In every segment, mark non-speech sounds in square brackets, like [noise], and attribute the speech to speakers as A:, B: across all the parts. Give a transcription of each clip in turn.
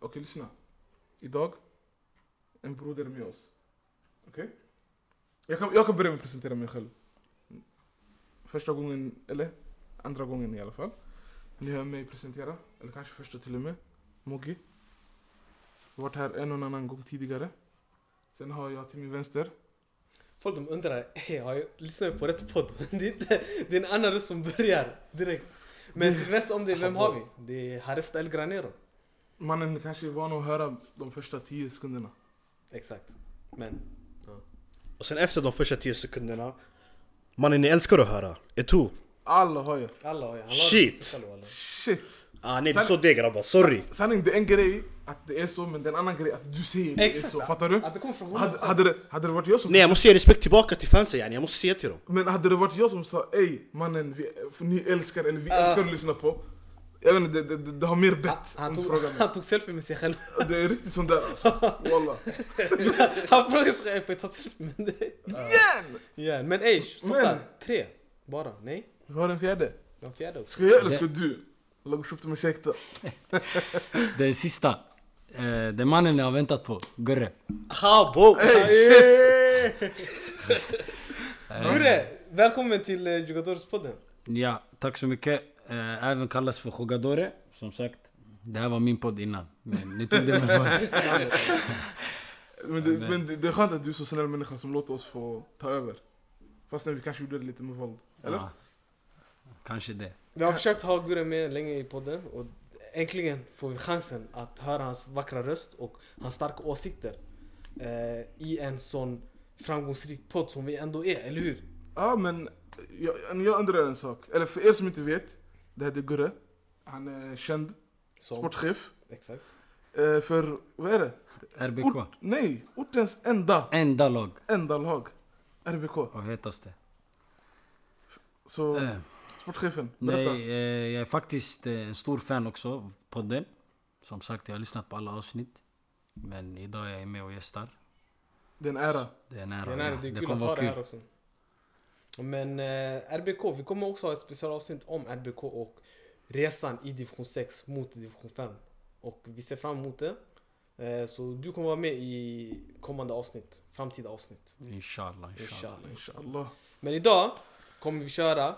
A: Okej, lyssna. Idag, en broder är med oss. Okej? Jag, kan, jag kan börja med att presentera mig själv. Första gången, eller andra gången i alla fall. Ni hör mig presentera, eller kanske första till och med. Moggi. Jag har varit här en och en annan gång tidigare. Sen har jag till min vänster.
B: Folk de undrar, hey, har jag lyssnat på rätt podd? [laughs] Det är, inte, det är en annan röst som börjar direkt. Men till nästa om det, vem har vi? Det är Harest El Granero.
A: Mannen kanske är van att höra de första tio sekunderna.
B: Exakt. Men,
C: Och sen efter de första 10 sekunderna Mannen ni älskar att höra, Eto!
A: Alla har jag.
B: alla har ju... han har
C: Shit.
B: sig själv, alla.
A: Shit!
C: Ah nej det är så det är, grabbar, sorry!
A: Sanning, det är en grej att det är så, men det är en annan grej att du säger det är
B: Exakt.
A: så. Fattar du?
B: Att det kommer från
A: Hade,
B: honom.
A: hade, det, hade det varit jag som...
C: Nej jag måste ge respekt tillbaka till fansen yani, jag måste säga till dem
A: Men hade det varit jag som sa ej mannen, vi, för ni älskar eller vi älskar att lyssna på. Jag vet inte, det, det, det har mer bett
B: Han
A: om du
B: tog,
A: frågar
B: [laughs]
A: mig.
B: han tog selfie med sig själv.
A: Det är riktigt sån där alltså. Wallah.
B: Han frågade sig själv, får jag ta selfie med dig?
A: [laughs] Igen!
B: Ja, men ey, softa.
A: Men-
B: Tre. Bara. Nej.
A: Vi har en fjärde.
B: Den fjärde också.
A: Ska jag eller ska du? Låg upp dem ursäkta.
D: Den sista. Eh, den mannen jag har väntat på. Gurre.
C: Ha bo!
A: Ey shit!
B: Gurre, välkommen till eh, Jugadores-podden.
D: Ja, tack så mycket. Eh, även kallas för Jogadore, som sagt. Det här var min podd innan. Men ni tog det med våld.
A: Men, det, men det, det är skönt att du är så snäll människa som låter oss få ta över. Fastän vi kanske gjorde det lite med våld. Eller?
D: Ja, kanske det.
B: Vi har försökt ha Gurre med länge i podden och äntligen får vi chansen att höra hans vackra röst och hans starka åsikter eh, i en sån framgångsrik podd som vi ändå är, eller hur?
A: Ja men jag, jag undrar en sak. Eller för er som inte vet. Det här är Gurre. Han är känd
B: Som,
A: sportchef.
B: Exakt.
A: Eh, för, vad är det?
D: RBK.
A: Ort, nej, ortens enda,
D: Enda lag
A: enda lag. RBK.
D: och hetaste.
A: Så
D: Eh,
A: sportchefen, berätta.
D: nej, eh, jag är faktiskt eh, en stor fan också av podden. Som sagt, jag har lyssnat på alla avsnitt. Men idag är jag med och gästar.
A: Det är en ära.
D: Det är nära.
B: Det är nära, det
D: ja.
B: är
D: det
B: kul att
D: kommer
B: ha
D: vara
B: det här
D: kul.
B: också. Men eh, RBK, vi kommer också ha ett specialavsnitt om RBK och resan i division 6 mot division 5. Och vi ser fram emot det. Eh, så du kommer vara med i kommande avsnitt, framtida avsnitt.
D: Inshallah, inshallah.
B: Inshallah.
A: Inshallah.
B: Men idag kommer vi köra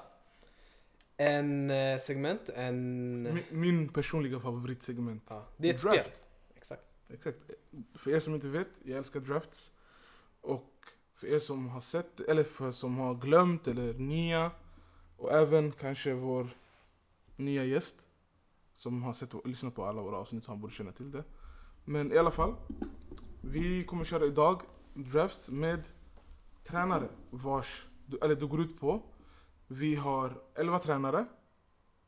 B: en eh, segment, en...
A: Min, min personliga favoritsegment.
B: Ja, det är ett
A: Draft.
B: spel. Exakt.
A: Exakt. För er som inte vet, jag älskar drafts. Och för er som har sett, eller för som har glömt, eller nya. Och även kanske vår nya gäst. Som har sett och lyssnat på alla våra avsnitt, så han borde känna till det. Men i alla fall. Vi kommer köra idag drafts med tränare vars, eller det går ut på. Vi har 11 tränare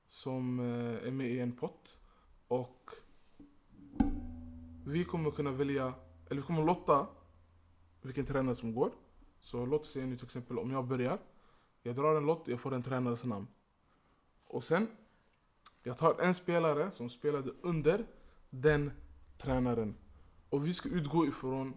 A: som eh, är med i en pott. Och vi kommer kunna välja, eller vi kommer lotta vilken tränare som går. Så låt oss säga nu till exempel om jag börjar. Jag drar en lott, jag får en tränares namn. Och sen, jag tar en spelare som spelade under den tränaren. Och vi ska utgå ifrån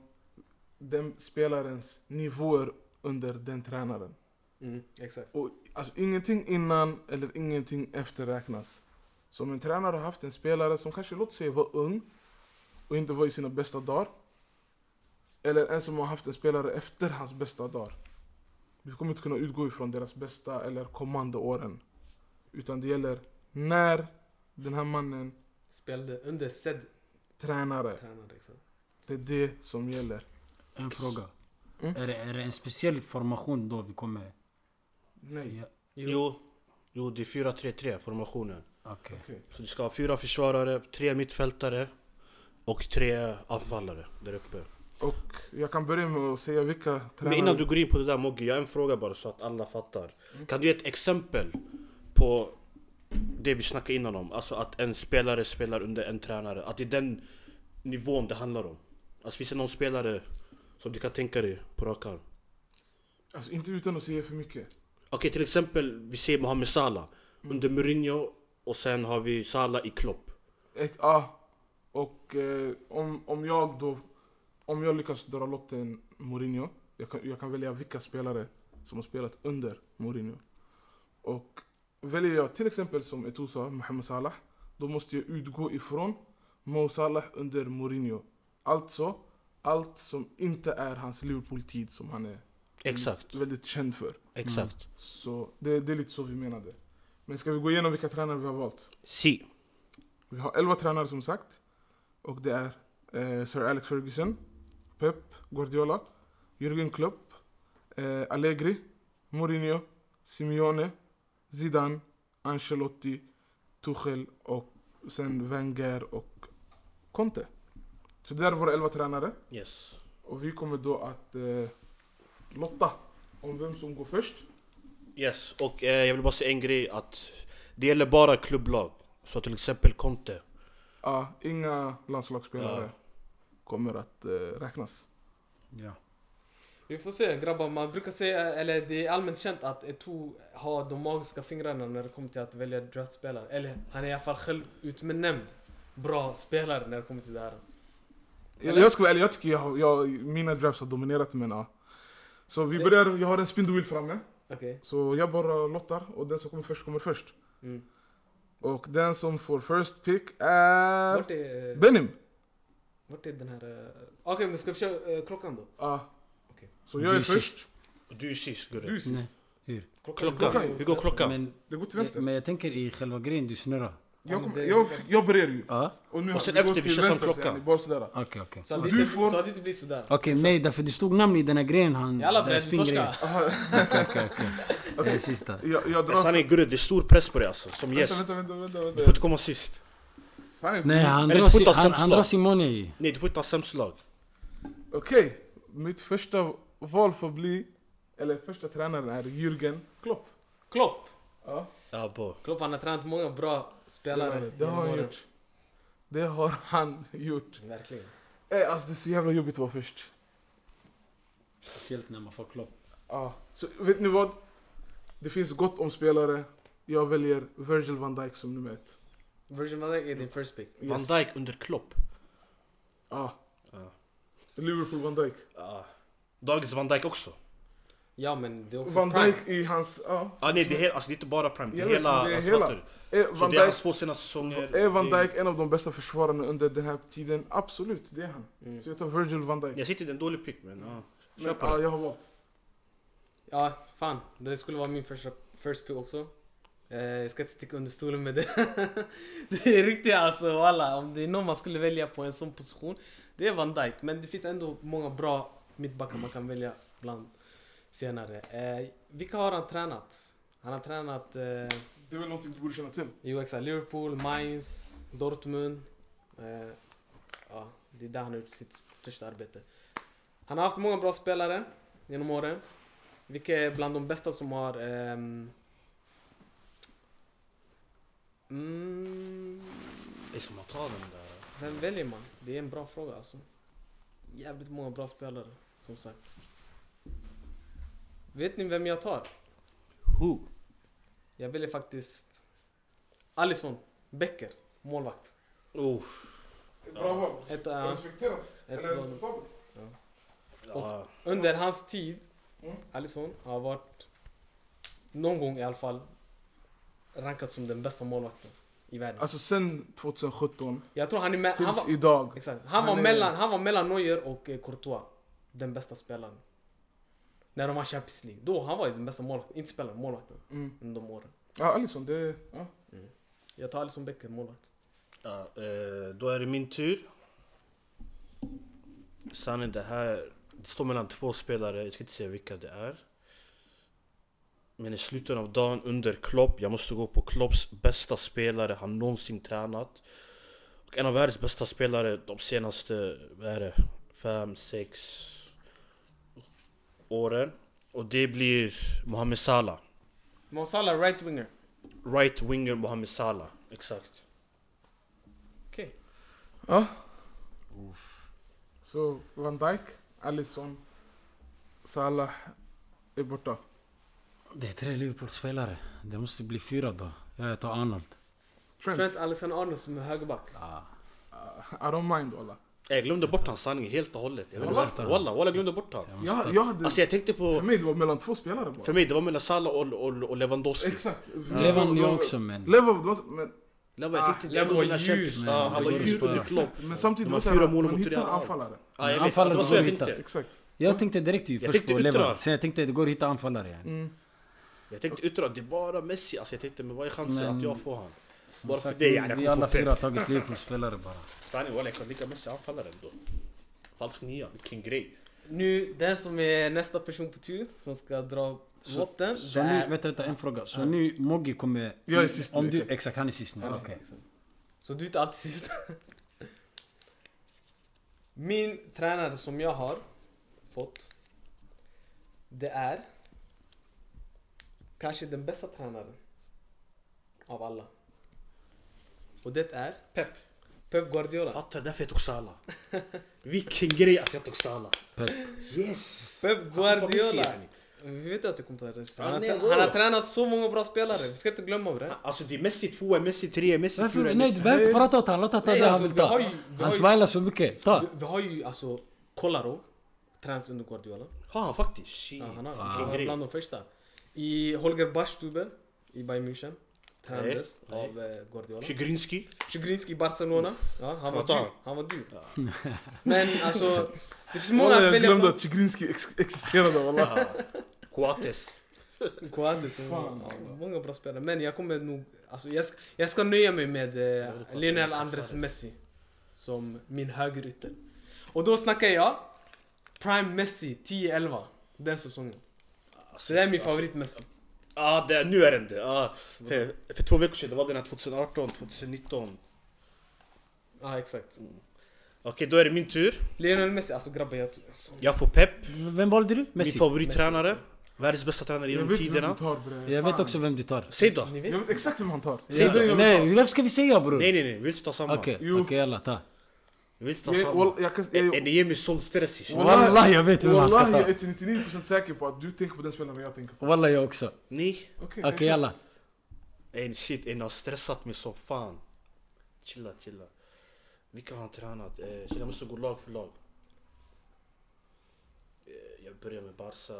A: den spelarens nivåer under den tränaren.
B: Mm, exakt.
A: Och alltså, ingenting innan eller ingenting efter räknas. Så om en tränare har haft en spelare som kanske, låt säga, var ung och inte var i sina bästa dagar. Eller en som har haft en spelare efter hans bästa dagar. Vi kommer inte kunna utgå ifrån deras bästa eller kommande åren. Utan det gäller när den här mannen
B: Spelade under liksom. sedd
A: tränare.
B: tränare. Exakt.
A: Det är det som gäller.
D: En fråga.
A: Mm.
D: Är, det, är det en speciell formation då vi kommer...
A: Nej.
D: Ja,
C: Jo, jo det är 4-3-3 formationen
D: okej.
C: Så du ska ha fyra försvarare, tre mittfältare och tre anfallare där uppe
A: Och jag kan börja med att säga vilka tränare...
C: Men innan du går in på det där Mogge, jag har en fråga bara så att alla fattar Kan du ge ett exempel på det vi snackade innan om? Alltså att en spelare spelar under en tränare, att det är den nivån det handlar om Alltså finns det någon spelare som du kan tänka dig på rak arm?
A: Alltså inte utan att säga för mycket.
C: Okej till exempel, vi ser Mohamed Salah under Mourinho och sen har vi Salah i Klopp
A: Ek- Ja. Och eh, om, om jag då... Om jag lyckas dra lotten Mourinho, jag kan, jag kan välja vilka spelare som har spelat under Mourinho. Och väljer jag till exempel som Eto'o sa, Mohamed Salah, då måste jag utgå ifrån Mo Salah under Mourinho. Alltså, allt som inte är hans Liverpool-tid som han är
C: Exakt,
A: väldigt känd för.
C: exakt.
A: Så det, det är lite så vi menade. Men ska vi gå igenom vilka tränare vi har valt?
C: Si.
A: Vi har 11 tränare som sagt. Och det är eh, Sir Alex Ferguson, Pep Guardiola, Jürgen Klopp, eh, Allegri, Mourinho, Simeone, Zidane, Ancelotti, Tuchel och sen Wenger och Conte. Så det där är våra 11 tränare.
C: Yes.
A: Och vi kommer då att eh, lotta om vem som går först.
C: Yes, och eh, jag vill bara säga en grej att det gäller bara klubblag. Så till exempel Conte.
A: Ja, inga landslagsspelare
C: Ja.
A: kommer att eh, räknas.
D: Ja.
B: Vi får se grabbar, man brukar säga, eller det är allmänt känt att Eto'o har de magiska fingrarna när det kommer till att välja draftspelare. Eller han är i alla fall själv utnämnd bra spelare när det kommer till det här.
A: Jag,
B: Eller?
A: jag ska vara ärlig, jag tycker jag, har- jag, mina drafts har dominerat men ja. Så vi
B: Det-
A: börjar, jag har en spindel framme.
B: Okej.
A: Så jag bara lottar och den som kommer först kommer först.
B: Mm.
A: Och den som får first pick är...
B: Vart är, eh,
A: Benim!
B: vart är den här... eh, Okej men ska vi köra eh, klockan då?
A: Ja.
B: Okej.
A: Så jag är
D: Du är
A: först.
C: Du är sist Gurre.
A: Du sist.
D: Nej. Hur?
C: Klockan, hur går klockan?
D: Men,
A: Det går till vänster.
D: men jag tänker i själva grejen du snurrar.
A: Jag,
B: Ja, men
A: kommer,
B: det-
A: jag, jag börjar ju.
D: Ja,
A: Och, nu,
C: Ah. Och sen
A: vi går
C: efter, Ah. vi
A: till
C: kör som
A: vänster, så
C: klockan.
A: är ni Bara sådär.
D: okej okej.
B: Så att,
A: Du
B: det inte,
A: får-
B: så att det inte blir sådär.
D: Okej, nej därför det stod namn i den här grejen han...
B: Jalla
D: den här
B: bre, du torskar.
D: Okej, okej, okej. Det är sista.
A: [laughs] Jag, jag drar...
C: Sanning Gurre, det är stor press på dig alltså, som
A: Vänta,
C: gäst.
A: vänta, vänta, vänta,
C: Du får
A: vänta.
C: inte komma sist.
A: Sanning.
D: Nej, han
C: Eller
D: drar,
C: ett
D: si,
C: foto av
D: han, han
C: Samslag.
D: drar Simone i.
C: Nej, du får inte ha sämst lag.
A: Okej, mitt första val får bli, eller första tränaren är Jürgen Klopp.
B: Klopp!
C: Ah.
A: Ja,
C: Ja, bra.
B: Klopp han har tränat många bra spelare.
A: det har han
B: genom
A: gjort. Det har han gjort.
B: åren. Verkligen.
A: Eh, alltså det är så jävla jobbigt att vara först.
D: Speciellt när man får klopp.
A: Ja. Ah. Så vet ni vad? Det finns gott om spelare. Jag väljer Virgil van Dijk som nummer ett.
B: Virgin van Dijk är din first pick.
C: Van Dijk under Klopp.
A: Ja.
C: Ja.
A: Ah. Liverpool van Dijk.
C: Ja. Dagens Van Dijk också.
B: Ja men det är också
A: Van
B: prime.
A: Dijk i hans... Ja.
C: Ah, nej, det är, he- alltså, det är inte bara Prime, det
A: Jag
C: är
A: vet,
C: hela...
A: det är
C: alltså,
A: hela.
C: fattar du?
A: Är Eh, van
C: Så det är
A: Dijk,
C: hans två senaste säsonger.
A: är van
C: Det-
A: Dijk en av de bästa försvararna under den här tiden? Absolut, det är han.
B: Mm.
A: Så jag tar Virgil van Dijk.
C: Jag sitter i en dålig pick men ja.
A: Men,
C: Köp
A: ja,
C: den.
A: jag har valt.
B: Ja, fan. Det skulle vara min första first pick också. Eh, jag ska inte sticka under stolen med det. [laughs] det är riktigt alltså, alla. Om det är någon man skulle välja på en sån position, det är Van Dijk. Men det finns ändå många bra mittbackar man kan välja bland senare. Eh, vilka har han tränat? Han har tränat eh,
A: Det är väl någonting du borde känna till?
B: UXA Liverpool, Mainz, Dortmund. Eh, ja, det är där han har gjort sitt största arbete. Han har haft många bra spelare genom åren. Vilka är bland de bästa som har... ehm, mm,
C: Ey, Ska man ta den där?
B: vem väljer man? Det är en bra fråga alltså. Jävligt många bra spelare, som sagt. Vet ni vem jag tar?
C: Who?
B: Jag väljer faktiskt... Alisson Becker, målvakt.
C: Uff.
A: Ett bra val.
B: Ett, eh,
A: Respekterat.
B: Ett
A: Eller
B: val.
A: respektabelt.
C: Ja.
B: Under hans tid,
A: Mm.
B: Alisson har varit, någon gång i alla fall, rankad som den bästa målvakten i världen.
A: Alltså sen 2017
B: Jag tror han är med,
A: tills
B: han var,
A: idag.
B: exakt, han,
A: Han
B: var
A: är-
B: mellan, han var mellan Neuer och eh, Courtois, den bästa spelaren. När de var Champions League, då han var ju den bästa målvakten, inte spelaren, målvakten,
A: Mm.
B: under de åren.
A: Ja, Alisson, det... Ja.
B: Jag tar Alisson Becker, målvakt.
C: Ja, eh, Då är det min tur. Sanningen det här. Det står mellan två spelare, jag ska inte säga vilka det är. Men i slutet av dagen under Klopp, jag måste gå på Klopps bästa spelare han någonsin tränat. Och en av världens bästa spelare de senaste, vad är det, fem, sex åren. Och det blir Mohamed Salah.
B: Mo Salah, right winger.
C: Right winger Mohamed Salah. Exakt.
B: Okej.
A: ja. Så Van Dijk, Alisson, Salah är borta.
D: Det är tre Liverpool-spelare. Det måste bli fyra då. Jag tar Arnold.
A: Trent.
B: Trent Alexander-Arnold som är högerback.
D: Ah,
A: Uh, I don't mind walla.
C: Jag glömde bort hans sanning helt och hållet. Jag vet inte
D: Walla?
C: varför. Walla, walla glömde bort han.
D: jag måste
A: Jag,
D: ta-
A: jag hade...
C: Alltså jag tänkte på...
A: För mig det var mellan två spelare bara.
C: För mig det var mellan Salah och, och, och Lewandowski.
A: Exakt.
D: Levan
A: Det
D: jag
A: var-
D: också men...
A: Levan, det var- men
C: Lebo, jag
A: Ah,
C: tyckte inte
B: Lebo
C: ändå
B: var
C: den här
B: ljus,
C: Champions...
D: man.
C: Ja, han var
D: Det var
C: ljus
D: bara-
C: under Klopp.
A: Men samtidigt,
C: De
A: var
C: har
A: så
C: fyra
A: här,
C: mål
A: man
C: mot Real.
A: hittar
C: Ja.
A: anfallare.
C: Ja, jag vet.
D: Anfallet
C: Det var så
D: går
C: jag
D: inte.
C: tänkte.
A: Exakt.
D: Jag tänkte direkt ju
C: Jag
D: först
C: tänkte
D: på Levan.
C: yttrar.
D: Så jag tänkte det går att hitta anfallare. Yani.
A: Mm.
C: Jag tänkte yttra att det är bara Messi. Alltså jag tänkte, men vad är chansen
D: Men-
C: att jag får han?
D: Som
C: Bara för
D: sagt,
C: dig,
D: vi-
C: yani, jag
D: Vi
C: kommer
D: alla
C: få
D: fyra
C: pepp.
D: har tagit Liverpool-spelare bara.
C: Sanning walla, jag kan lika Messi anfallare ändå. Falsk nia, vilken grej.
B: Nu, den som är nästa person på tur som ska dra
D: Så-
B: lotten.
D: Så
B: det
D: nu,
B: är-
D: vänta, vänta, en fråga. Så
B: Ja.
D: nu, Moggi kommer...
A: Jag är sist nu,
D: om du,
A: exakt.
D: exakt, han är sist nu.
B: Ja,
D: okej.
B: precis. Så du är inte alltid sist. Min tränare som jag har fått. Det är kanske den bästa tränaren av alla. Och det är
C: Pep.
B: Pep Guardiola.
C: Fattar, därför jag tog
D: [laughs]
C: Salah. Vilken grej att jag tog Salah.
D: Pep.
C: Yes!
B: Pep
C: Han tar Messi,
B: Guardiola.
C: yani.
B: Vi vet ju att du kommer ta det.
C: Ja,
B: Han har,
C: nej,
B: tra-
C: wow.
B: han har tränat så många bra spelare. Vi ska inte glömma det.
C: Alltså det är Messi 2, Messi 3, Messi 4,
D: Varför? Nej, du
C: Messi...
D: behöver inte prata åt honom. Låt honom ta
B: Nej,
D: det han
B: alltså,
D: vill
B: vi har
D: ta.
B: ju- vi
D: Han
B: har ju-
D: smilar så mycket. Ta!
B: Vi, vi har ju alltså Kolarov. Tränats under Guardiola.
C: Har han faktiskt? Shit.
B: Ja, han har
D: Wow.
B: han var bland de första. I Holger Bastube i Bayern München. Tränades
C: Nej,
B: av eh, Guardiola.
C: Chigrinski.
B: Chigrinski i Barcelona. Ja, han, var
C: Ska man ta
B: dyr. han var dyr. [laughs] Men alltså, det finns många
A: Walla,
B: att
A: jag
B: välja
A: glömde
B: på.
A: att Chigrinski ex- existerade walla.
C: Coates.
B: Coates, och-
A: Fan,
B: ja, många bra spelare. Men jag kommer nog... Alltså, jag, ska, jag ska nöja mig med eh,
C: klart.
B: Lionel Andres Messi. Som min högerytter. Och då snackar jag Prime Messi 10-11. Den säsongen. Så det är min favorit Messi.
C: Ja, det, nu är den det. Ja, för, för två veckor sedan, det var den här 2018, 2019.
B: Ja, exakt.
C: Okej, då är det min tur.
B: Lionel Messi, alltså grabbar jag tror... Alltså,
C: Jag får Pep,
D: Vem valde du?
C: min
D: Messi?
C: favorittränare. Världens bästa
A: Jag
C: tränare genom
A: vet vem
C: tiderna.
A: han tar bre.
D: Jag vet
A: Fan.
D: också vem du tar.
C: Säg då!
B: ni vet?
A: Jag vet exakt vem han tar.
C: Säg
A: Det är
C: då.
A: den jag vill ta.
D: Nej, varför ska vi säga bror?
C: Nej nej nej, vi vill inte ta samma.
D: Okej,
A: Jo.
D: okej alla ta.
C: Vi vill inte ta
A: Jag,
C: samma.
A: wall- jag, kan- jag,
C: Är ni ger mig sån stress ish.
A: Wallah.
D: Wallah jag vet vem han ska
A: Wallahi, jag
D: ta.
A: är till 99% säker på att du tänker på den spelaren jag tänker på.
D: Wallah jag också.
C: Nej.
A: Okej,
D: Okej alla.
C: En shit, en har stressat mig som fan. Chilla, chilla. Vilka har han tränat? Eh, shit, jag måste gå lag för lag. Eh, jag börjar med Barca.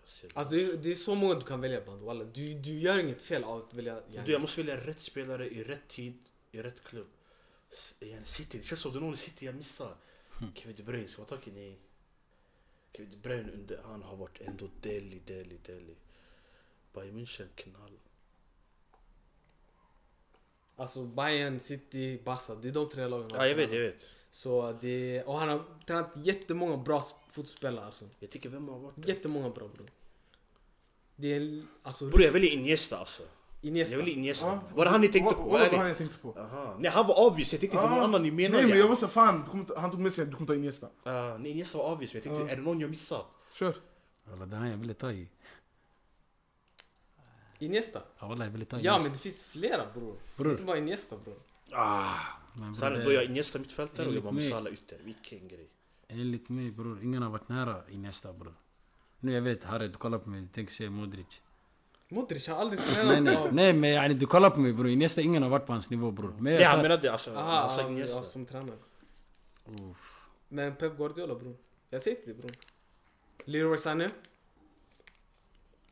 C: Jag ser-
B: Alltså det är, det är så många du kan välja bland walla. Du, du gör inget fel av att välja yani.
C: Du, jag måste välja rätt spelare i rätt tid, i rätt klubb. S- igen, City, det känns som det är någon i City jag missar. Kevin De Bruyne, ska man ta Kevin? Nej. Kevin De Bruyne, under, han har varit ändå deli, deli, deli. Bayern München, knall.
B: Alltså Bayern, City, Barca. Det är de tre lagen han
C: Ja, jag
B: har
C: vet, jag
B: tränat.
C: vet.
B: Så det, och han har tränat jättemånga bra s- fotbollsspelare alltså.
C: Jag tycker vem har varit det?
B: Jättemånga bra bror. Det är alltså...
C: Bror, jag väljer Iniesta alltså.
B: Iniesta.
C: Jag väljer Iniesta.
A: Ja.
C: Var det han ni tänkte
A: Wa-
C: på?
A: wallah, det var han
C: ärligt?
A: jag tänkte på.
C: Aha. Nej, han var obvious. Jag tänkte det var någon
A: Ah.
C: annan ni menade.
A: Nej men jag var så fan, du kommer ta- han tog med sig att du kommer ta Iniesta.
C: Ah, nej, Iniesta var obvious. Men jag tänkte,
A: Ja.
C: är det någon jag missat?
A: Kör.
D: Wallah det är han jag ville ta i.
B: Iniesta?
D: Ja wallah jag ville ta i.
B: Ja
D: Messi.
B: men det finns flera bror.
D: Bror.
B: Inte bara Iniesta bror.
D: Men bror,
C: Sen
D: det-
C: då är jag Iniesta mittfältare och jag
D: Enligt
C: var med
D: mig.
C: Salah ytter. Vilken grej.
D: Enligt mig bror, ingen har varit nära i nästa bror. Nu jag vet Harry, du kollar på mig, du tänker säga Modric.
B: Modric har
D: [laughs]
B: aldrig
D: Nej
B: tränats
D: nej,
B: av...
D: nej men yani, du kollar på mig bror, i nästa ingen har varit på hans nivå bror. Men
C: Nej,
D: jag
C: han
D: tar...
C: menade alltså,
B: Aha,
C: han sa
B: ja, ja,
C: Iniesta.
B: som tränare. Men Pep Guardiola bror. Jag säger till dig bror. Leroy Sané.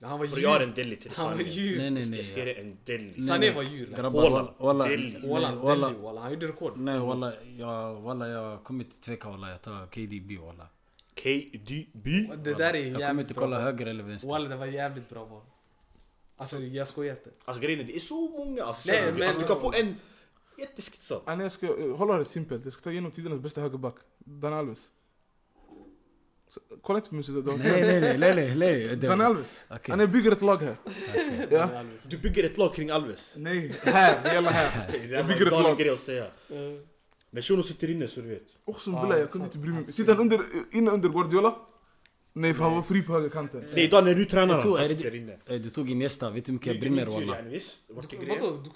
B: Han var
C: Bror jag har
B: djur.
C: en deli till
B: Han var
C: Sané.
B: djur.
D: Nej nej
C: Jag ska ge
D: nej.
C: dig en deli.
D: Nej,
B: Sané
D: nej.
B: var djur.
D: Grabbar
C: Walla,
D: walla, walla.
C: Delhi.
D: Nej, Mm,
B: Walla,
D: walla.
B: Delhi, walla. Han gjorde rekord.
D: Nej walla, jag, walla, jag kommer inte tveka walla, jag tar KDB walla.
C: KDB.
B: Det där är
D: Jag kommer
B: jävligt
D: inte
B: bra.
D: kolla
B: val.
D: höger eller vänster.
B: Walla, det var jävligt bra val. Alltså jag skojar inte.
C: Alltså grejen är det är så många. Alltså,
B: Nej,
C: så-
B: men-
C: alltså du kan få en jätteskitsad.
A: Ah, nej, jag ska eh, hålla det simpelt. Jag ska ta igenom tidernas bästa högerback. Dan Alves. Så, kolla inte på mig sådär. det var
D: Nej
A: fel.
D: nej nej, nej nej nej.
A: Dan
D: det-
A: Alves.
D: Okej.
A: Han är bygger ett lag här. Ja.
C: Du bygger ett lag kring Alves.
A: Nej, här. Hela här.
C: [laughs] Det
A: Jag
C: var en
A: bygger ett
C: galen
A: lag.
C: grej att säga.
B: Eh,
C: Men shunon sitter inne så du vet.
A: Och som
B: Ja,
A: Bula, jag
B: exakt.
A: kunde inte bry mig.
B: Alltså.
A: Sitter han under, inne under Guardiola? Nej, för han var fri på högerkanten.
C: Nej idag när du tränar
D: Jag tror-
C: han, han
D: är det-
C: sitter inne.
D: Ey, Du tog in nästa, vet du hur mycket jag
C: Det är min
D: brinner
C: tur,
D: walla?
C: yani, visst? Vart är
B: du-
C: grejen?
B: Vadå? Du, du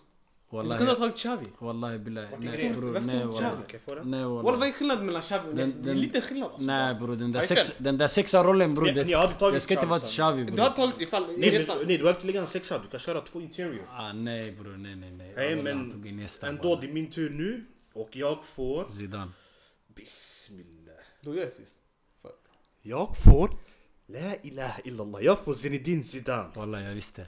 B: kunde ha
D: Wallahi,
B: tagit Xavi.
D: wallahi billahi.
C: Vart är
D: Nej
C: grejen?
D: bror,
B: Varför
D: nej
B: tog du
D: walla.
C: Kan jag få den?
D: Nej
B: Walla, vad
D: walla.
B: är skillnaden mellan Xavi och
D: Den-
B: Messi? Det är
D: den-
B: lite skillnad alltså.
D: Nej bror, den där
B: Vad är
D: sex- den där sexa rollen bror.
C: Ni-
D: det-
C: ni hade tagit
D: Jag ska inte
C: Xavi,
D: vara
C: Xavi.
D: Xavi
B: Du har
D: bror.
B: tagit ifall...
C: Nej,
B: Iniesta-
C: men, nej du behöver inte lägga en sexa, du kan köra två interior.
D: Ah, nej bror, nej nej nej.
C: Nej,
D: Walla,
C: men
D: han tog in nästa
C: Ändå
D: walla.
C: det är min tur nu och jag får...
D: Zidane.
C: Bismillah.
B: Då gör jag sist. Fuck.
C: Jag får... La ilaha illallah. Jag får Zinedine Zidane.
D: Walla jag visste.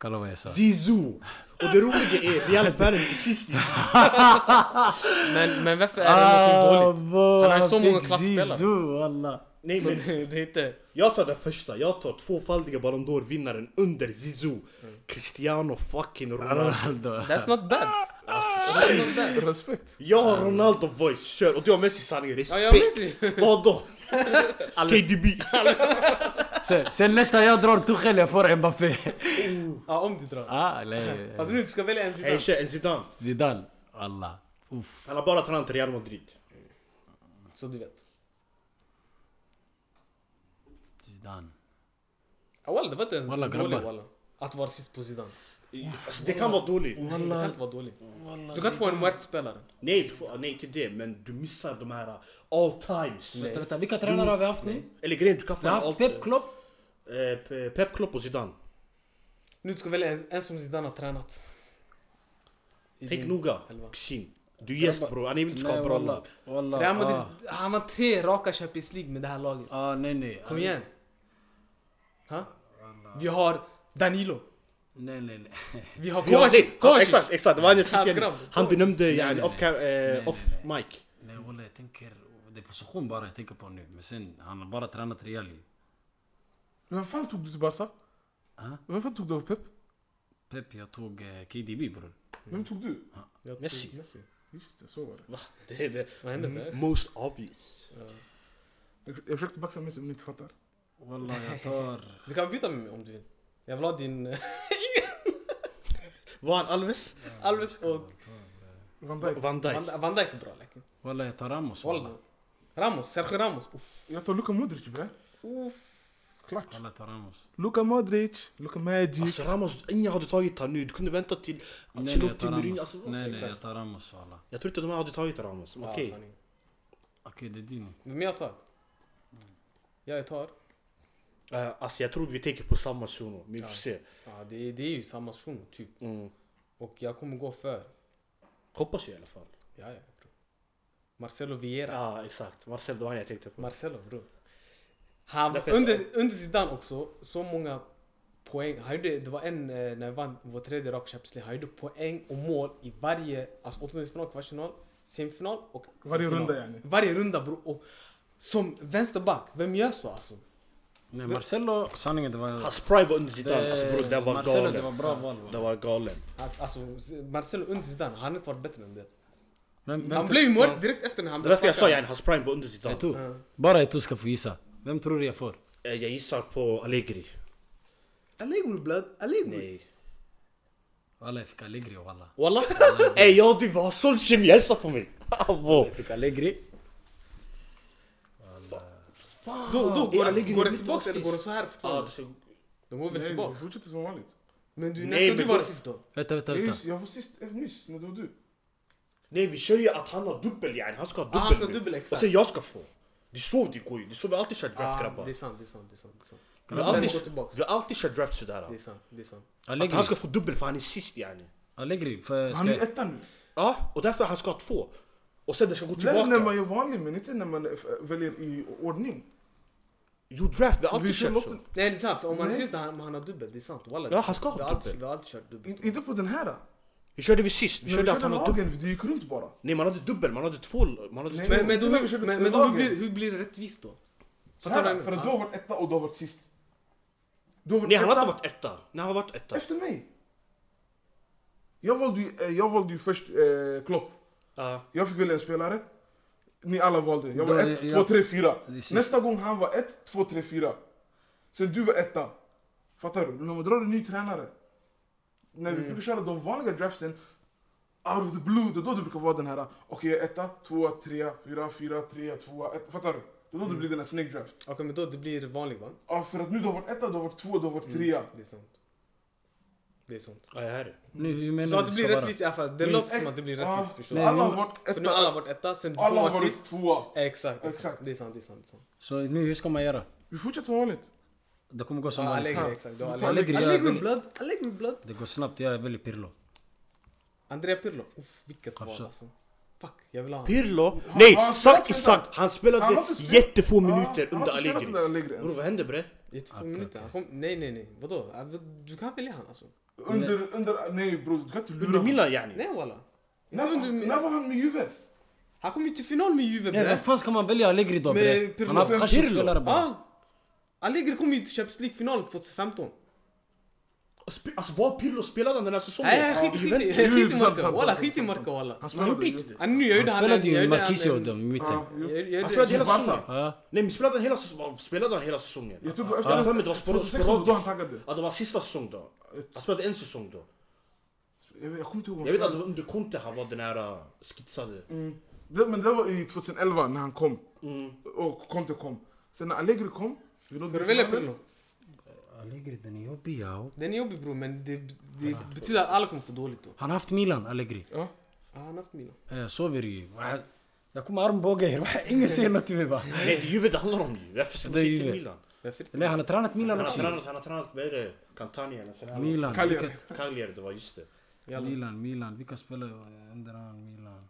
D: Kolla vad jag sa.
C: Zizou! Och det roliga är, Real världen är sist
B: Men, men
D: Ah,
B: varför är det någonting dåligt? [laughs]
D: vad,
B: Han har så många
D: fick
B: klassspelare.
D: Zizou, wallah.
C: [laughs] Nej
B: Så
C: men
B: det, det är inte...
C: jag tar den första, jag tar tvåfaldiga Ballon d'Or-vinnaren under Zizou Cristiano fucking Ronaldo
D: [laughs] Ronaldo.
B: That's not bad! That's not bad.
A: Respekt.
C: Jag har Ronaldo voice, kör! Och du har Messi sanning,
B: Ja, jag har
C: respekt!
B: Messi!
C: [laughs] Vadå? KDB!
D: Sen, sen nästa jag drar Tuchel, jag får Mbappé. [laughs]
B: Ja, om du drar.
D: Ah, nej.
B: Fast nu, du ska välja en
C: Ey
B: sida.
C: tjej, en Zidane!
D: Zidane, wallah. Uff.
C: Han har bara tränat Real Madrid
B: Så du vet.
D: Zidane.
B: Ja, Walla, det var inte ens
D: Walla,
B: dålig
D: grabbar.
B: walla. Att vara sist på sidan.
C: alltså, Det kan vara dåligt
B: Det kan inte vara dåligt. Du kan inte få en Muert-spelare.
C: Nej, du får- nej till det, men du missar de här uh, all times
B: Nej.
D: Vänta, vänta, vilka tränare har vi haft nu?
C: Eller grejen, du kan få
D: Vi har haft Pep Klopp.
C: Eh, Pe- Pep Klopp och Zidane
B: Nu du ska välja en, en som Zidane har tränat. I
C: Tänk
B: din
C: noga,
B: elva.
C: kusin Du är gäst bror, han vill inte skapa bra lag
D: Wallah.
B: Real Madrid,
D: Ah.
B: han har tre raka Champions League med det här laget.
D: ah, nej nej.
B: Kom igen. Ha? Vi har Danilo.
D: Nej nej [laughs] nej.
B: Vi har
C: Ja,
B: Kovacic.
C: nej, ja,
B: Kovacic.
C: exakt, exakt, det var en
B: Hans
C: speciell
B: grabb.
C: Han benämnde yani
D: nej,
C: off, cam, eh, off mic
D: Nej wallah, jag tänker... Det är position bara jag tänker på nu. Men sen, han har bara tränat Real ju.
A: Vem fan tog du till Barca?
D: Ah,
A: Vem fan tog du av Pep?
D: Pep, jag tog eh,
B: [laughs]
D: KDB bror.
A: Vem tog du?
B: Jag tror
C: Messi. Mm.
A: Just det, så var det.
C: Det är det
B: Vad hände med det?
C: most obvious
A: Jag jag försökte baxa mig så ni inte fattar.
D: Wallah, jag tar...
B: Du kan byta med mig om du vill. Jag vill ha din eh,
C: Var han Alves?
B: [laughs] Alves och
A: Van Dijk.
C: Van Dijk?
B: Van- Van Dijk är bra läkare.
D: Wallah, jag tar Ramos.
B: Walla.
D: Wallah,
B: Ramos, Sergio Ramos. Uff.
A: Jag tar Luka Modric bre.
B: Uff.
A: Klart.
D: wallah jag tar Ramos.
A: Luka Modric, Luka Magic.
C: Alltså Ramos, ingen hade tagit han nu, du kunde vänta till
D: Nej nej, jag
C: Ancelotti,
D: tar
C: Mourinho,
D: Ramos.
C: alltså
D: Nej nej,
C: exakt.
D: jag tar alltså, Ramos wallah.
C: Jag tror inte de här hade tagit Ramos,
B: Ja,
C: okej
B: sanning.
D: Okej, det är din.
B: Vem jag tar?
C: Mm.
B: Jag tar?
C: Eh, Alltså jag tror vi tänker på samma shuno, men vi får se
B: Ja, det, är- det är ju samma shuno typ.
C: mm.
B: Och jag kommer gå för...
C: Hoppas jag i alla fall
B: Ja, ja, bro. Marcelo Vieira.
C: Ja exakt, Marcel det var han jag tänkte på
B: Marcelo bro. Han,
C: Därför jag
B: under, under Zidane också, så många poäng. Han gjorde, det var en, eh, när vi vann vår tredje raka Champions League, han gjorde poäng och mål i varje, alltså åttondelsfinal, kvartsfinal, semifinal och
A: Varje
B: final.
A: runda yani.
B: Varje runda bro. Och som vänsterback, vem gör så alltså?
D: Nej, Marcelo, sanningen det var...
C: Hans prime var under Zidane, alltså bror det var
D: Marcelo, det
C: galen
D: var bra val.
C: Det
D: wallah.
C: var galen
B: Alltså, alltså Z- Marcelo under Zidane, han har inte varit bättre än det.
D: Vem, vem
B: Han
D: tror-
B: blev ju mål direkt efter när han
C: Det är därför jag sa
B: sparkad.
C: yani, hans prime var under Zidane
D: Eto'o.
B: Ja.
D: Bara Eto'o ska få gissa. Vem tror du jag får?
C: Eh, Jag gissar på Allegri
B: Allegri blöd, Allegri.
C: Nej
D: Wallah, jag fick Allegri wallah.
B: [laughs]
C: Walla? Ey jag och Eh, du vi har sån kemi, hälsa på mig! Abo!
D: Jag fick Allegri.
B: Då, då
C: Ey,
B: går,
C: Eh, Allegri
B: den- går
C: är
B: den
C: mitt
B: tillbaka eller
C: rasist.
B: går den så här
C: Ja,
B: fortfarande?
C: det så-
B: De går väl
A: Nej,
B: tillbaka?
A: vi fortsätter som vanligt.
B: Men du,
C: Nej,
B: när ska du
C: men
B: vara
C: då-
B: sist då?
D: Vänta, vänta,
A: Jag,
D: vänta.
A: just, jag var sist eh, nyss, när det var du.
C: Nej vi kör ju att han har dubbel yani, han ska ha
B: Ja,
A: Ah,
C: dubbel
B: han ska ha
C: nu.
B: dubbel, exakt.
C: Och sen jag ska få Det är så det går ju, det är så vi alltid kör draft
B: Ah,
C: grabbar
B: det är sant, det är sant, det är sant. Det är sant.
C: Vi
B: Men
C: har alltid,
B: den går tillbaks.
C: vi har alltid kört draft
B: Det är
C: sådär
B: sant, det är sant.
C: Att
D: Allegri.
C: han ska få dubbel för han är sist yani
D: Allegri. För,
A: Han är ju
D: ska...
A: etta nu.
C: Ja, och därför han ska ha två Och sen det ska gå
A: Nej, när man
C: tillbaka
A: gör vanlig men inte när man eh, väljer i ordning.
C: Jo draft, vi har
A: Vi
C: alltid
A: kör
C: kört så
A: lotten.
B: Nej det är sant, för om han är
A: Nej.
B: sist han, han har dubbel, det är sant. Walla,
C: Ja, han ska ha
B: vi har alltid-
C: dubbel.
B: Vi har alltid kört dubbel.
A: In- Inte på den här.
C: Hur körde vi sist? Vi
A: När vi
C: körde att
A: körde
C: han har dubbel
A: lagen, det gick runt bara.
C: Nej man hade dubbel, man hade två man hade
A: Nej,
C: två
B: Men, men, då,
A: Inte när vi körde
B: hur, men, men då, hur,
A: lagen.
B: blir, hur blir det rättvist då?
A: Så
B: Fattar
A: här,
B: du?
A: för att du
B: Ja.
A: har varit etta och du har varit sist. Du har varit
C: Nej han har
A: etta
C: inte varit etta, nej han har varit etta
A: efter mig. Jag valde ju, eh, jag valde ju först eh, Klopp.
C: Ja.
A: Jag fick välja en spelare. Ni alla valde. Jag var
D: Då är
A: 1,
D: jag-
A: 2, 3, 4.
D: Det är sist.
A: Nästa gång han var 1, 2, 3, 4. Sen du var etta. Fattar du? Men När man drar en ny tränare. När
D: Mm.
A: vi brukar köra de vanliga draftsen. Out of the blue, det är då det brukar vara den här. Okej, jag är etta, tvåa, trea, fyra, fyra, trea, tvåa, ett. Fattar du? Det är då det
D: Mm.
A: blir den här snake draft.
B: Okej men då det blir vanlig va?
A: Ja, för att nu du har varit etta, du har varit tvåa, du har
D: Mm.
A: varit trea.
B: Det är sant. Det är sant.
C: Ja, jag är det.
D: Nu, hur menar
B: Så
D: du
B: att det blir
D: ska vara?
B: rättvist i alla fall, det
D: Mm.
B: låter som att det blir rättvist förstår
A: Ah,
B: du?
A: alla har varit
B: För nu har alla
A: etta,
B: varit etta, sen du
A: alla har
B: var
A: varit
B: sist.
A: tvåa.
B: Exakt,
A: Exakt.
B: exakt. Det är sant, det är sant. Det är sant.
D: Så nu, hur ska man göra?
A: Vi fortsätter som vanligt.
D: Det kommer gå som
B: Ja,
D: vanligt.
B: Allegri, exakt. Du har
D: tar
B: Allegri.
D: Allegri, jag
B: Allegri
D: väljer-
B: blood, Allegri blood.
D: Det går snabbt, jag väljer Pirlo.
B: Andrea Pirlo. Uff, vilket val
D: Kapsa.
B: alltså. Fuck, jag vill ha honom.
C: Pirlo?
A: har
C: Nej,
A: han
C: sagt är
A: spelat
C: sant! Han
A: Han
C: spelade
A: har inte spelat-
C: jättefå
A: Ja,
C: minuter
A: han har
C: under
A: inte spelat
C: Allegri
A: under Allegri ens.
C: Bror vad hände bre?
B: I två
D: Okej,
B: minuter.
D: okej.
B: Han kom, nej, nej, nej. Vadå? Ah, Du kan välja han alltså.
A: Under, under, nej bror du kan inte lura
C: Under
A: honom.
C: Milan yani.
B: Nej walla.
A: När
B: Inte under-
A: var- när var han med Juve?
B: Han kom ju till final med Juve
D: Nej,
B: bre.
D: Vem fan ska man välja Allegri då bre?
B: Med
D: Han har haft
B: Pirlo.
D: kanske spelare bara.
B: Ah! Allegri kom ju till Champions League-finalen 2015.
C: Spe- Alltså var Pirlo spelade den här säsongen?
B: Nej, skit,
C: Ja,
B: skit,
C: Juventus.
B: i- skit i
A: sant,
B: Marca.
A: sant,
B: Walla,
A: sant,
B: skit i
A: sant,
B: Marca walla.
A: walla.
C: Han gjorde inte det.
B: Ah, Nu, jag
D: Han
B: gjorde
D: spelade
B: jag
D: ju
B: gjorde han
D: Marquisio
B: en-
D: i mitten.
B: Jag- jag gjorde-
C: Han spelade hela
A: Barca.
C: säsongen.
D: Ja.
C: Nej men spelade han hela säsongen? Spelade han hela säsongen?
A: Jag tror
C: Jag har för
A: efter
C: mig det var spor-
A: 2016 då han
C: sporadiskt.
A: taggade.
C: Ja det var sista säsong då. Han spelade en säsong då.
A: Jag vet- jag kommer inte ihåg. vad
C: Jag vet
A: han
C: att det var under Conte han var den här äh, skitsade.
A: Det, men det var i 2011 när han Nou, kom.
C: Mm.
A: Och Conte kom. Sen när Allegri kom. vi nådde
B: Ska du välja
A: finalen.
B: Pirlo?
D: Allegri den är jobbig ja.
B: Den är jobbig bror men det, det betyder att alla kommer få dåligt då.
D: Han har haft Milan Allegri.
A: Ja.
B: Ah, han har haft Milan.
D: Eh, Sover ju. Jag kommer armbåga er. va? Ingen säger något till mig va?
C: Nej det är Juve det handlar om ju. Varför ska man
D: Det är
C: säga till
D: Juve.
C: Milan?
B: Varför inte?
D: Nej han har tränat Milan
C: Han har
D: också.
C: tränat, han har tränat, vad är det? Catania eller sån här-
D: Milan.
A: Cagliari.
D: vilket-
C: Cagliari det var, just det.
B: Jalla.
D: Milan, Milan. Vilka spelare under han? Milan.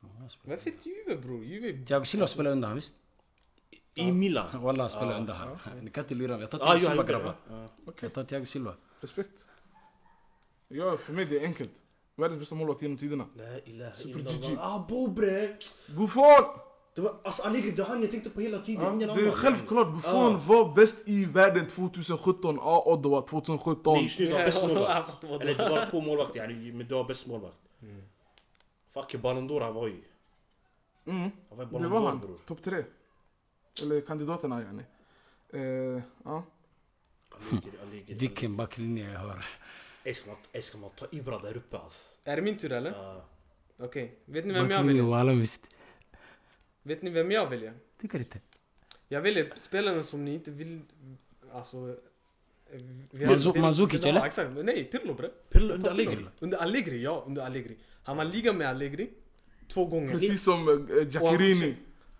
D: Många spelare.
B: Varför inte Juve bror? Juve...
D: Thiago Silva spelar under han visst?
C: I Milan.
D: Walla han spelar under han. Ni kan inte lura mig. Jag tar
C: Ja,
D: Thiago
C: jag
D: Silva
C: gjorde det.
D: grabbar.
C: Ja.
D: Jag tar Thiago Silva.
A: Respekt. Ja, för mig det är enkelt. Världens bästa målvakt genom tiderna.
C: La ilaha
A: Super
C: illallah.
A: GG.
C: Ah Bobre!
A: Buffon!
C: Det var, alltså Allegri, det var han jag tänkte på hela tiden.
A: Ja,
C: ingen
A: det är
C: annan.
A: självklart, Buffon
C: Ja.
A: var bäst i världen 2017. Ja, Ah, Ottawa 2017.
C: Nej just nu, det var bäst målvakt. Eller
B: Eller
C: det var två målvakter yani, men det var bäst målvakt. Fuck Ballon d'Or han var ju.
A: Mm,
C: Han var
A: det
C: ju Ballon
A: var
C: d'Or
A: han.
C: bror.
A: Topp tre. Eller kandidaterna yani. Eh, ja.
C: Allegri, Allegri.
D: Vilken backlinje jag har.
C: Ey, ska man- ey, ska man ta Ibra där uppe alltså?
B: Är det min tur eller?
C: Ja.
B: Okej. Vet ni vem jag
D: Backlinje
B: väljer?
D: walla visst.
B: Vet ni vem jag väljer?
D: Tycker inte.
B: Jag väljer spelaren som ni inte vill... Alltså... eh, vi-
D: Manzu-
B: vi-
D: Mandzukic,
B: Ja,
D: eller?
B: Exakt. Nej, Pirlo bre.
C: Pirlo under Allegri.
B: Under Allegri, ja. Under Allegri. Han var liga med Allegri. Två gånger.
A: Precis som eh,
B: Och-
A: Giacchirini.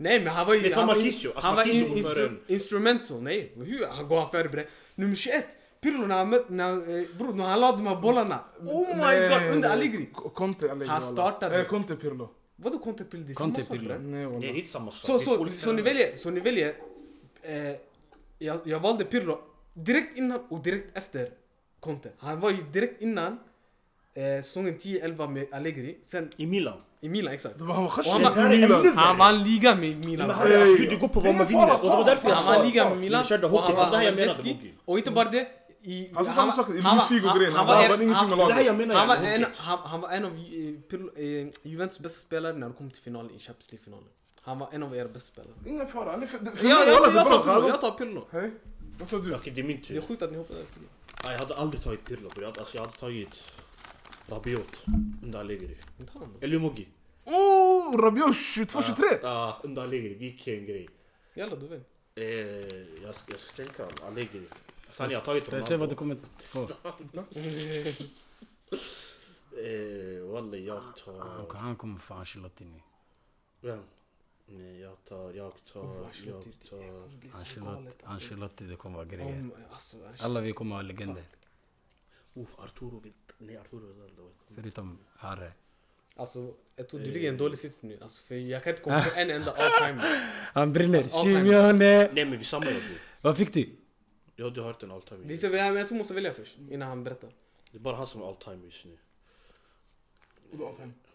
B: Nej men han var ju...
C: Vet du vad
B: Han var,
C: Marquisio? Alltså,
B: han var
C: Marquisio
B: in,
C: går före
B: instru,
C: en-
B: instrumental, nej. Hur? Han går före bre. Nummer 21. Pirlo när han mötte... När, eh, bror, när han la de här bollarna. Oh my
A: Nej,
B: god, under
A: nej.
B: Allegri.
A: K- Conte Allegri.
B: Han
A: walla.
B: startade.
A: Eh, Conte Pirlo.
B: Vadå Conte Pirlo? Det är
D: Conte
B: samma sak,
D: Pirlo.
B: bre.
A: Nej
C: Det är
A: walla.
C: inte samma sak.
B: Så,
C: Det är två
B: så,
C: olika
B: så ni
C: tränare.
B: väljer, så ni väljer. Eh, jag, jag valde Pirlo direkt innan och direkt efter Conte. Han var ju direkt innan eh, säsongen 10-11 med Allegri. Sen
C: I Milan.
B: i Milan, exakt.
A: Det var han var
B: Och han, var,
A: Khashoggi i Milan.
B: han vann liga med Milan.
C: Men
B: bre.
C: han, alltså, du, det går på vad
A: Det är
C: man vinner.
A: fara,
C: Och det var därför jag
B: Han vann
C: sa...
B: ligan med Milan
C: Vi körde
B: och
C: hockey,
B: han
C: så det
B: vann
C: här jag menade
B: jetski.
C: Boogie.
B: Och inte bara det. I,
A: Han sa Alltså, samma sak i
B: han var-
A: Lucio-grejen.
B: han-
A: Han
B: han
A: vann
B: en-
A: ingenting med
B: han-
A: laget.
C: Det här jag menar
B: Han var,
C: yani,
B: en,
C: Boogie.
B: han, han var en av eh, Pirlo- eh, Juventus bästa spelare när de kom till finalen i Champions League-finalen. Han var en av era bästa spelare.
A: Ingen fara. han är för- för
B: Jag, jag,
A: mig, walla,
B: jag,
A: det är
B: tar
A: bra.
B: Pirlo, jag tar Pirlo.
A: Hej, vad sa du?
C: Okej, det är min
B: Det är
C: tur.
B: sjukt att ni hoppade över Pirlo.
C: Ja, Jag hade aldrig tagit Pirlo. bror. Jag hade- Alltså, jag hade tagit Rabiot under Allegri.
B: Inte han då.
C: Eller Mugi.
A: Oh, Rabiot 22, 23!
C: Ja, under Allegri. Vilken grej.
B: Jalla du vet.
C: Eh, jag, ska, jag ska tänka om Allegri. Sen jag har tagit
D: Jag ser vad du
C: Ronaldo.
D: kommer få.
C: Eh, Wally, jag
D: Han-
C: tar...
D: Han kommer få Ancelotti.
C: Vem? Nej, jag tar... Jag tar... Jag tar...
D: Ancelotti, Ancelotti det kommer vara grejer.
B: Om, alltså, Ancelotti.
D: Alla vi kommer vara legender.
C: Uff, oh, Arturo vill... Nej, Arturo vill aldrig vara kvar.
D: Förutom Harry.
B: alltså jag tror du ligger i en dålig sits nu. Alltså, för jag kan inte komma på en
C: [laughs]
B: enda all time.
D: Han brinner.
B: Alltså, all time.
D: Simeone!
C: Nej, men vi samlar bror.
D: Vad fick du?
C: Jag har hört en all time.
B: Vi ser- Jag tror vi måste välja först innan han berättar.
C: Det är bara han som är all time just nu.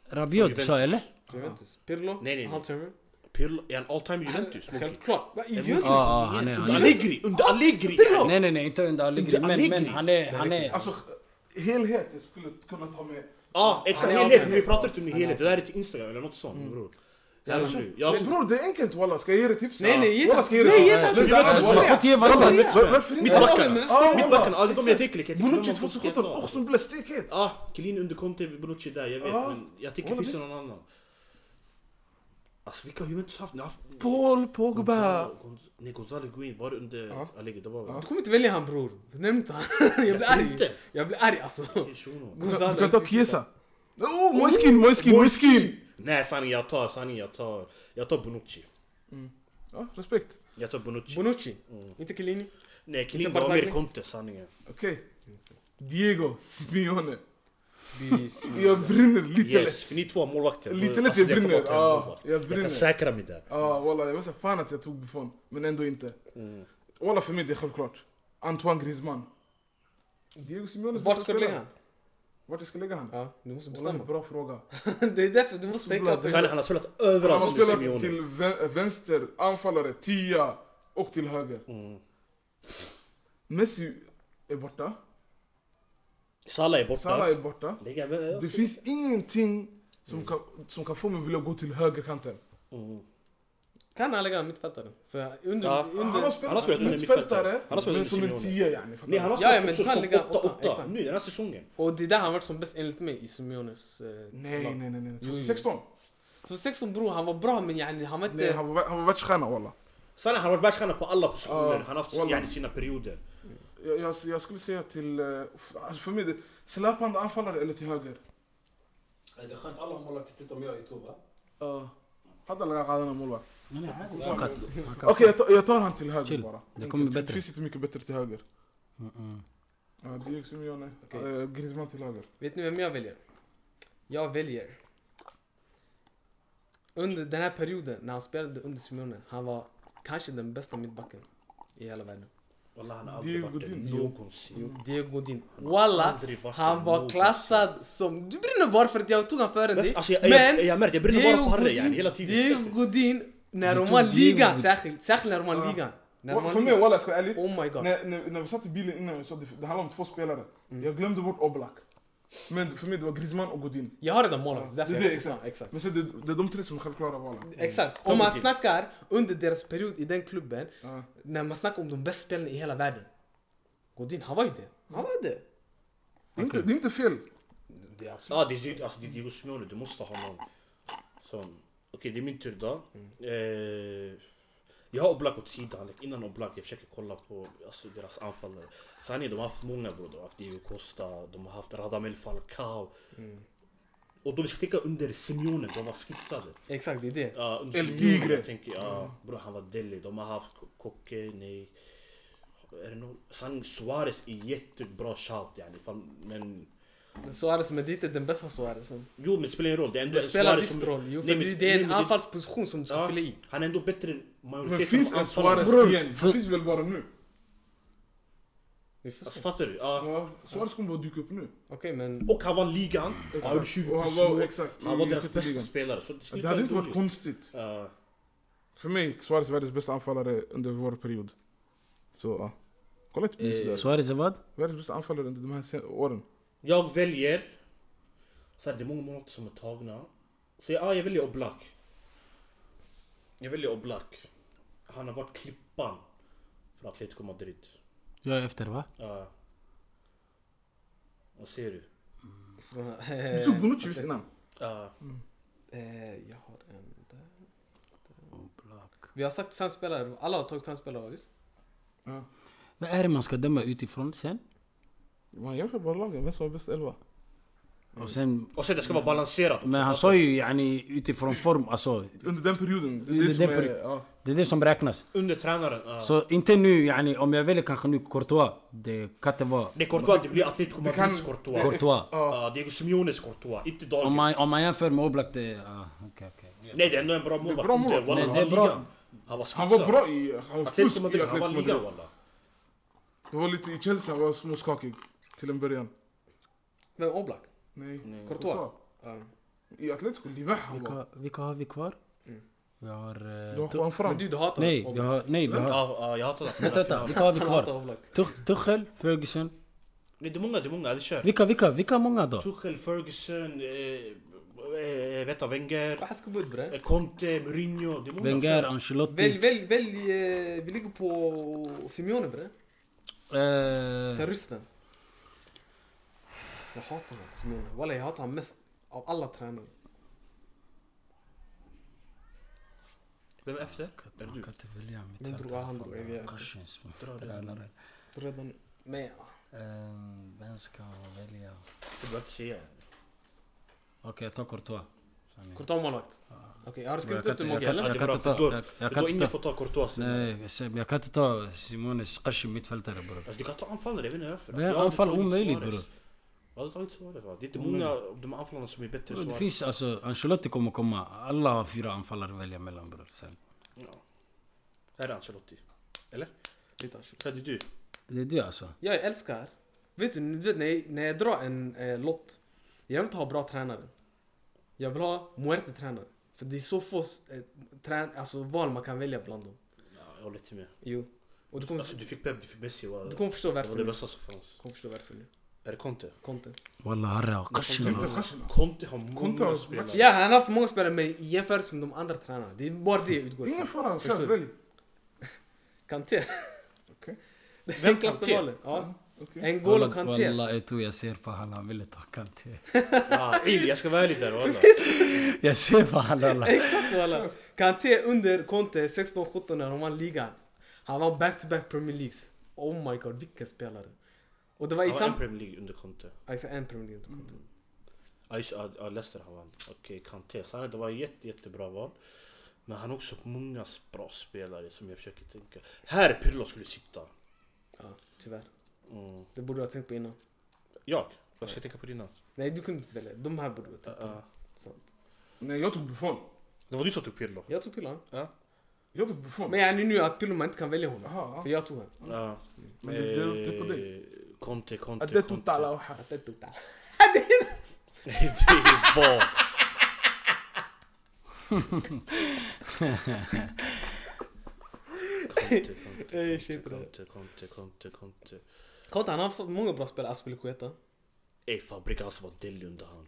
D: Rabiot du sa eller?
B: Juventus. Pirlo,
C: Nej, nej, nej.
B: Haltermer.
C: Pirlo, är han all time Juventus? Mugi?
B: Självklart. Va, i Juventus?
D: Ja, ah, han är... Han
C: Under
D: är.
C: Allegri! Under Allegri!
D: Nej nej nej, inte under Allegri.
C: Under
D: Men, men
C: Allegri.
D: han är... Han är
A: Alltså, helhet jag skulle kunna ta med.
C: Ja, exakt.
B: Han är
C: Helhet.
B: all-time.
C: Vi pratar inte om helhet. Det där är Mm. till Instagram eller något sånt bror. Här och nu. Jag...
A: Bror, det är enkelt walla. Ska jag ge dig tips?
B: Nej, nej, ge
A: Walla,
B: tack.
A: ska jag ge
B: Nej,
A: dig
B: ge
A: tips? Men
B: tack. Vi
A: walla,
B: vet inte
A: walla.
B: vad
A: Walla,
B: det är.
D: Fått ge varandra tips.
A: var- Varför
C: Mitt
A: inte?
B: Mittback.
C: backarna.
B: men-
A: Ja,
C: Mitt
A: walla.
C: backarna. Ja, det är de jag tänker. like, jag tänker
A: Bonucci
C: de har fått
A: 2017,
C: sketa.
A: också en blev stekhet.
C: Ja, ah, Kelin under Conte, Bonucci där, jag vet.
A: Ja.
C: Men jag tycker
A: Håller
C: det finns någon annan. Alltså vilka har Juventus haft? Ni har haft
A: Paul
C: Gonzalo, Gonz- nej, Gonzalo Guin, var det under
A: Ja.
C: Allegri? Det var
A: Ja.
B: Du kommer inte välja han bror. Nämn inte han.
A: [laughs]
B: Jag blir arg.
C: inte?
B: Jag blir arg alltså.
C: Okej, Shuno.
A: Du
B: Gonzalo.
A: kan ta Chiesa. Oh, Moiskin, Moiskin, Moiskin!
C: Nej sanning, jag tar, sanning, jag tar, jag tar Bonucci.
A: Ja, respekt.
C: Jag tar Bonucci.
B: Bonucci.
C: Mm.
B: Inte Chiellini.
C: nej, Kelin
B: inte
C: var
B: Barzagli.
C: mer Conte, sanningen.
A: Okej. Diego Simeone.
B: Bis.
A: Jag brinner lite
C: Yes,
A: lätt.
C: för ni två har målvakter.
A: Lite
C: Alltså,
A: lätt jag
C: det kommer
A: brinner.
C: att ta en
A: Ja,
C: målvakt.
A: jag
C: Jag
A: brinner.
C: kan säkra mig där.
A: Ja, walla, jag var så fan att jag tog
B: Mm.
A: Buffon, men ändå inte. Walla, för mig det är självklart. Antoine Griezmann. Diego Simeone
B: Vart ska du lägga han?
A: Vart jag ska lägga han?
B: Ja, du måste
A: Wallahi,
B: bestämma.
A: bra fråga.
B: [laughs] det är därför du måste tänka på
A: Bra.
C: Han har spelat
A: Han har
C: överallt under
A: spelat
C: Simeone.
A: till vä- vänster, anfallare, tia och till höger.
C: Mm.
A: Messi är borta.
C: Salah är
A: Salah
C: borta.
A: är borta.
C: Det kan väl-
A: Det finns ingenting som kan, som kan få mig att vilja gå till högerkanten.
C: Mm.
B: Kan han lägga en mittfältare? För under...
C: Ja.
B: under
C: han har spelat som en mittfältare. Han har spelat
A: men
C: som
A: som en
C: Simeone.
A: tia yani.
C: Nej, han har
B: Ja, ja, men
C: spelat också
B: han
C: som
B: ligger åtta,
C: 8-8
B: exakt.
C: nu den här säsongen.
B: Och det är där han varit som bäst enligt mig i Simeones eh,
A: Nej,
B: lag.
A: nej, nej, nej.
B: Jo, jo.
A: 2016.
B: 2016 bror, han var bra men yani han var inte...
A: Nej, han var, han var världsstjärna walla.
C: Salah han har varit världsstjärna på alla positioner.
A: Ja,
C: Han har haft
A: wallah.
C: yani, sina perioder.
A: Jag, jag, jag skulle säga till... eh, Alltså för mig, det- släpande anfallare eller till höger?
E: Det är skönt, alla har målvakter förutom jag i Tova.
A: Uh, hade alla galna målvakt.
D: Nej, nej, han kan- han kan-
A: Okej, jag, tar- jag tar han till höger
D: Chill.
A: bara.
D: Det kommer bli
A: Det
D: bättre.
A: finns inte mycket bättre till höger.
D: Mm-mm.
A: Ja, Diego Simeone.
B: Okej.
A: Eh, Griezmann till höger.
B: Vet ni vem jag väljer? Jag väljer... Under den här perioden när han spelade under Simeone, han var kanske den bästa mittbacken i hela världen.
C: Wallah, han har aldrig
A: Diego
C: varit det
A: Godin.
C: någonsin.
B: Diego Godin. Walla,
C: Aldrig varit
B: han var
C: någon.
B: klassad som... Du brinner bara för att jag tog han före dig.
C: Alltså, jag, jag, jag, jag märker, jag brinner bara på Harry yani, hela tiden.
B: Diego Godin, när
D: Du
B: de
D: tog
B: vann
D: Diego
B: ligan
D: Godin.
B: särskilt. Särskilt när de vann
A: Ja.
B: ligan. När de
A: Wa-
B: vann
A: För mig
B: ligan.
A: walla, jag ska vara ärlig.
B: Oh my god.
A: När, när, när vi satt i bilen innan så det, det handlade om två spelare. Jag glömde bort Oblak. Men för mig det var Griezmann och Godin.
B: Jag har redan målvakt,
A: Det är
B: därför
A: det,
B: jag
A: exakt.
B: Ja, exakt.
A: Men så det, det är de tre som är självklara val.
B: Exakt.
C: De
B: Om man
C: gick.
B: snackar under deras period i den klubben,
A: Ja.
B: när man snackar om de bästa spelarna i hela världen. Godin, han var ju det. Han var det.
A: Det, är inte, det är inte fel.
B: Det är absolut.
C: Ja, det är Di- alltså, det är Diego Simeone, du måste ha någon som... Okej, det är min tur då. Eh, jag har Oblak åt sidan. Like, innan Oblak, jag försöker kolla på alltså, deras anfallare. Sanningen, de har haft många bror. De har haft Diego Costa, de har haft Radamel Falcao. Och de ska tänka under Simeone, de var skitsade.
B: Exakt, det är det.
C: Ja, under
A: El
C: Simeone,
A: Tigre.
C: jag tänker, ja, bror han var deli. De har haft Ko- Koke, nej. Är det någon? Sanning, Suarez är jättebra shout yani. fan, Men...
B: Suarez, men det är inte den bästa Suarezen.
C: Jo men det spelar ingen roll, det är ändå
B: Det spelar
C: Suarez
B: visst roll. Jo, för
C: Nej, men-
B: det- det är
C: nej,
B: en
C: men det-
B: anfallsposition som du ska
C: Ja,
B: fylla i.
C: Han är ändå bättre än
A: Men
C: majoriteten
A: finns
C: av
A: en
C: anfallarna. Alltså,
A: Suarez
D: Bror,
A: igen? Det
D: för-
A: finns väl bara nu?
B: Vi får se.
C: Alltså,
B: Okej,
C: fattar du? Ja.
A: Ja, Suarez kommer bara dyka upp nu.
B: men...
C: Och han vann ligan. Han gjorde 20
A: Och han
C: plus
A: var-
C: mål.
A: exakt,
C: Han
A: i
C: var deras
A: skytteligan.
C: bästa spelare. Så det skulle
A: Det hade inte varit
C: dåligt.
A: konstigt.
C: Ja.
A: För mig, Suarez är världens bästa anfallare under vår period. آه. Så, ja. Kolla inte på mig sådär.
D: Suarez är vad?
A: Världens bästa anfallare under de här sen- åren.
C: Jag väljer... Så här, det är många månader som är tagna. Så ja, jag väljer Oblak. Jag väljer Oblak. Han har varit klippan för Atletico Madrid.
D: Jag är efter va?
C: Ja. Vad säger du?
B: Från, [laughs]
A: Du tog Bonucci visst innan?
C: Ja.
B: Eh, jag har en där. Vi har sagt fem spelare. Alla har tagit fem spelare, visst?
A: Ja.
D: Vad är det man ska döma utifrån sen?
A: Man jämför bara lagen, vem som var bäst elva.
D: Och sen
C: Och sen det ska vara balanserat. också.
D: men han sa ju yani, utifrån form, alltså
A: Under den perioden. Det är
D: Under
A: det som
D: den
A: är...
D: perioden.
A: Ja.
D: det är det som räknas.
C: Under tränaren. ja.
D: Så inte nu, yani, om jag väljer kanske nu Courtois, det kan inte vara
C: Det är Courtois, det blir Atletico
A: Det kan-
C: Madrids Courtois.
A: det-
D: Courtois.
A: Ja.
C: Ja, Diego Simeones Courtois, inte
D: Om man,
C: dagens.
D: om man jämför med Oblak, det... ah, Okej, okej.
C: Nej det är ändå en bra
A: Det är
C: målvakt.
A: bra mål.
C: Inte, walla,
D: Nej,
C: han
D: det är
C: var
D: bra.
C: ligan. Han var
A: Han
C: skitsad.
A: var bra i... Han var fusk
C: Atletico
A: i
C: Madrid, han var
A: Atletico Madrid.
C: ligan walla.
A: Det var lite i Chelsea, han var småskakig. Till en början.
B: Vem? Oblak?
A: Nej.
B: Courtois? Ja.
A: I Atletico, Libah han var.
D: Vilka, vilka har vi kvar?
B: Mm.
D: Vi har... eh,
A: Du har
D: Tu-
A: Juan Fran.
B: Men du, du hatar
D: nej, vi
B: Oblak.
D: har... Nej, vi
C: Ja,
D: har...
C: ja, jag hatar
D: Vänta, vänta.
C: honom.
D: Vilka har vi
B: Han hatar
D: kvar?
B: Oblak.
D: Tuch- Tuchel, Ferguson.
C: Nej det är många, det är många. Det kör.
D: Vilka, vilka, vilka många då?
C: Tuchel, Ferguson, eh, eh, vet du, Wenger,
B: Vad ska vi ut bre?
C: eh, Conte, Mourinho. Det är många.
D: Wenger,
B: Välj,
D: Ancelotti.
B: välj, välj. eh, Vi ligger på Simeone
D: Mm.
B: bre.
D: Eh,
B: Terroristen. Jag hatar honom Simeone. Walla jag hatar honom mest av alla tränare.
C: Vem är efter? Är det
D: Man
C: du?
D: kan inte välja mitt
B: Men drog han drog, jag vet.
D: Korsens
C: Dra det.
D: tränare.
B: Redan med.
D: Ehm, Vem ska man välja? Okej,
C: Du behöver inte säga.
D: jag tar Courtois. Sanning.
B: Kortom målvakt. Okej, har du
D: Jag
B: skrivit
D: kan
B: upp
D: inte-
B: det Mogge
D: jag kan-
B: eller?
C: Ja,
D: jag
C: det är
D: kan
C: bra.
D: inte ta...
C: För då-
D: jag-
C: Jag
D: Jag kan inte
C: ingen
D: ta...
C: får ta Courtois. Nej.
D: Nej, Seb, jag kan inte ta Simones Qashi mittfältare bror.
C: Alltså du kan ta anfallare, jag vet inte varför.
D: Men
C: Alltså, jag hade
D: anfall
C: tagit
D: omöjligt,
C: Suarez.
D: bror.
C: Jag hade tagit Suarez va. Det är inte många av de anfallarna som är bättre än
D: Det
C: Suarez.
D: finns alltså, Ancelotti kommer komma. Alla har fyra anfallare att välja mellan bror. Sen.
C: Ja. Är det Ancelotti? Eller?
B: Lite, Ancelotti.
C: Så är det du?
D: Det är det alltså.
B: Jag älskar Vet du, du vet, när, jag, när jag drar en eh, lott. Jag vill inte ha bra tränare. Jag vill ha Muerte-tränare. För det är så få eh, trän alltså, val man kan välja bland dem.
C: Ja, jag håller inte med.
B: Jo. Och du kommer,
C: Alltså du fick Pep, du fick Messi. Wow.
B: du kommer förstå
C: Det var
B: varför
C: det
B: nu. Du
C: bästa som fanns.
B: kommer förstå varför nu.
C: Är det Conte?
B: Conte.
D: Walla harra och
A: Tänk
D: kashina.
A: dig Khashoggi.
C: Conte har många
A: Conte har-
C: spelare.
B: Ja, han har haft många spelare men i jämförelse med de andra tränarna. Det är bara det jag utgår
A: Ingen
B: ifrån.
A: fara,
B: Förstår
A: kör,
B: du?
A: välj.
B: Kanté.
A: Okej.
B: Det är
C: Vem
B: enklaste
C: Kanté?
B: valet. Ja.
A: Okej.
B: N'Golo Kanté.
D: Walla Eto'o, jag ser på han, han vill inte ha [laughs] Kanté.
C: Ja, il, jag ska vara ärlig där walla.
D: Jag ser på han walla.
B: [laughs] Exakt walla. Kanté under Conte 16-17 när de vann ligan. Han vann back-to-back Premier Leagues. Oh my god, vilken spelare. Och det var i
C: Han var
B: sam...
C: en Premier League under Conte.
B: Ja, exakt, en Premier League. under Conte.
C: Ja just ja, ja, Leicester han vann. Okej, Kanté. Så han, det var en jätte, jättebra val. Men han har också många bra spelare som jag försöker tänka. Här Pirlo skulle sitta.
B: Ja, tyvärr.
C: Mm.
B: Det borde jag ha tänkt på innan.
C: Jag? Vad ska jag tänka på dina?
B: Nej, du kunde inte välja. De här borde du ha tänkt på.
C: Uh,
B: Sant.
A: Nej, jag tog Buffon.
C: det var du som tog Pirlo.
B: Jag tog Pillan.
A: Jag tog Buffon. Ah,
B: Men jag är nu att Pillan man inte kan välja honom.
A: Jaha,
B: För
A: ja.
B: jag tog honom.
C: Ja.
A: Men det- det- det är på dig.
C: Eh, Conte, Conte,
A: Adet
C: Conte.
A: Utala och Haff.
B: Att det är Pillan.
C: Nej, [laughs] det är vad? Conte,
B: Ey,
C: Conte,
B: shit,
C: Conte, Conte, Conte, Conte.
B: Conte, han har fått många bra spelare. Aspelekueta.
C: Ey, Fabregas var deli under han.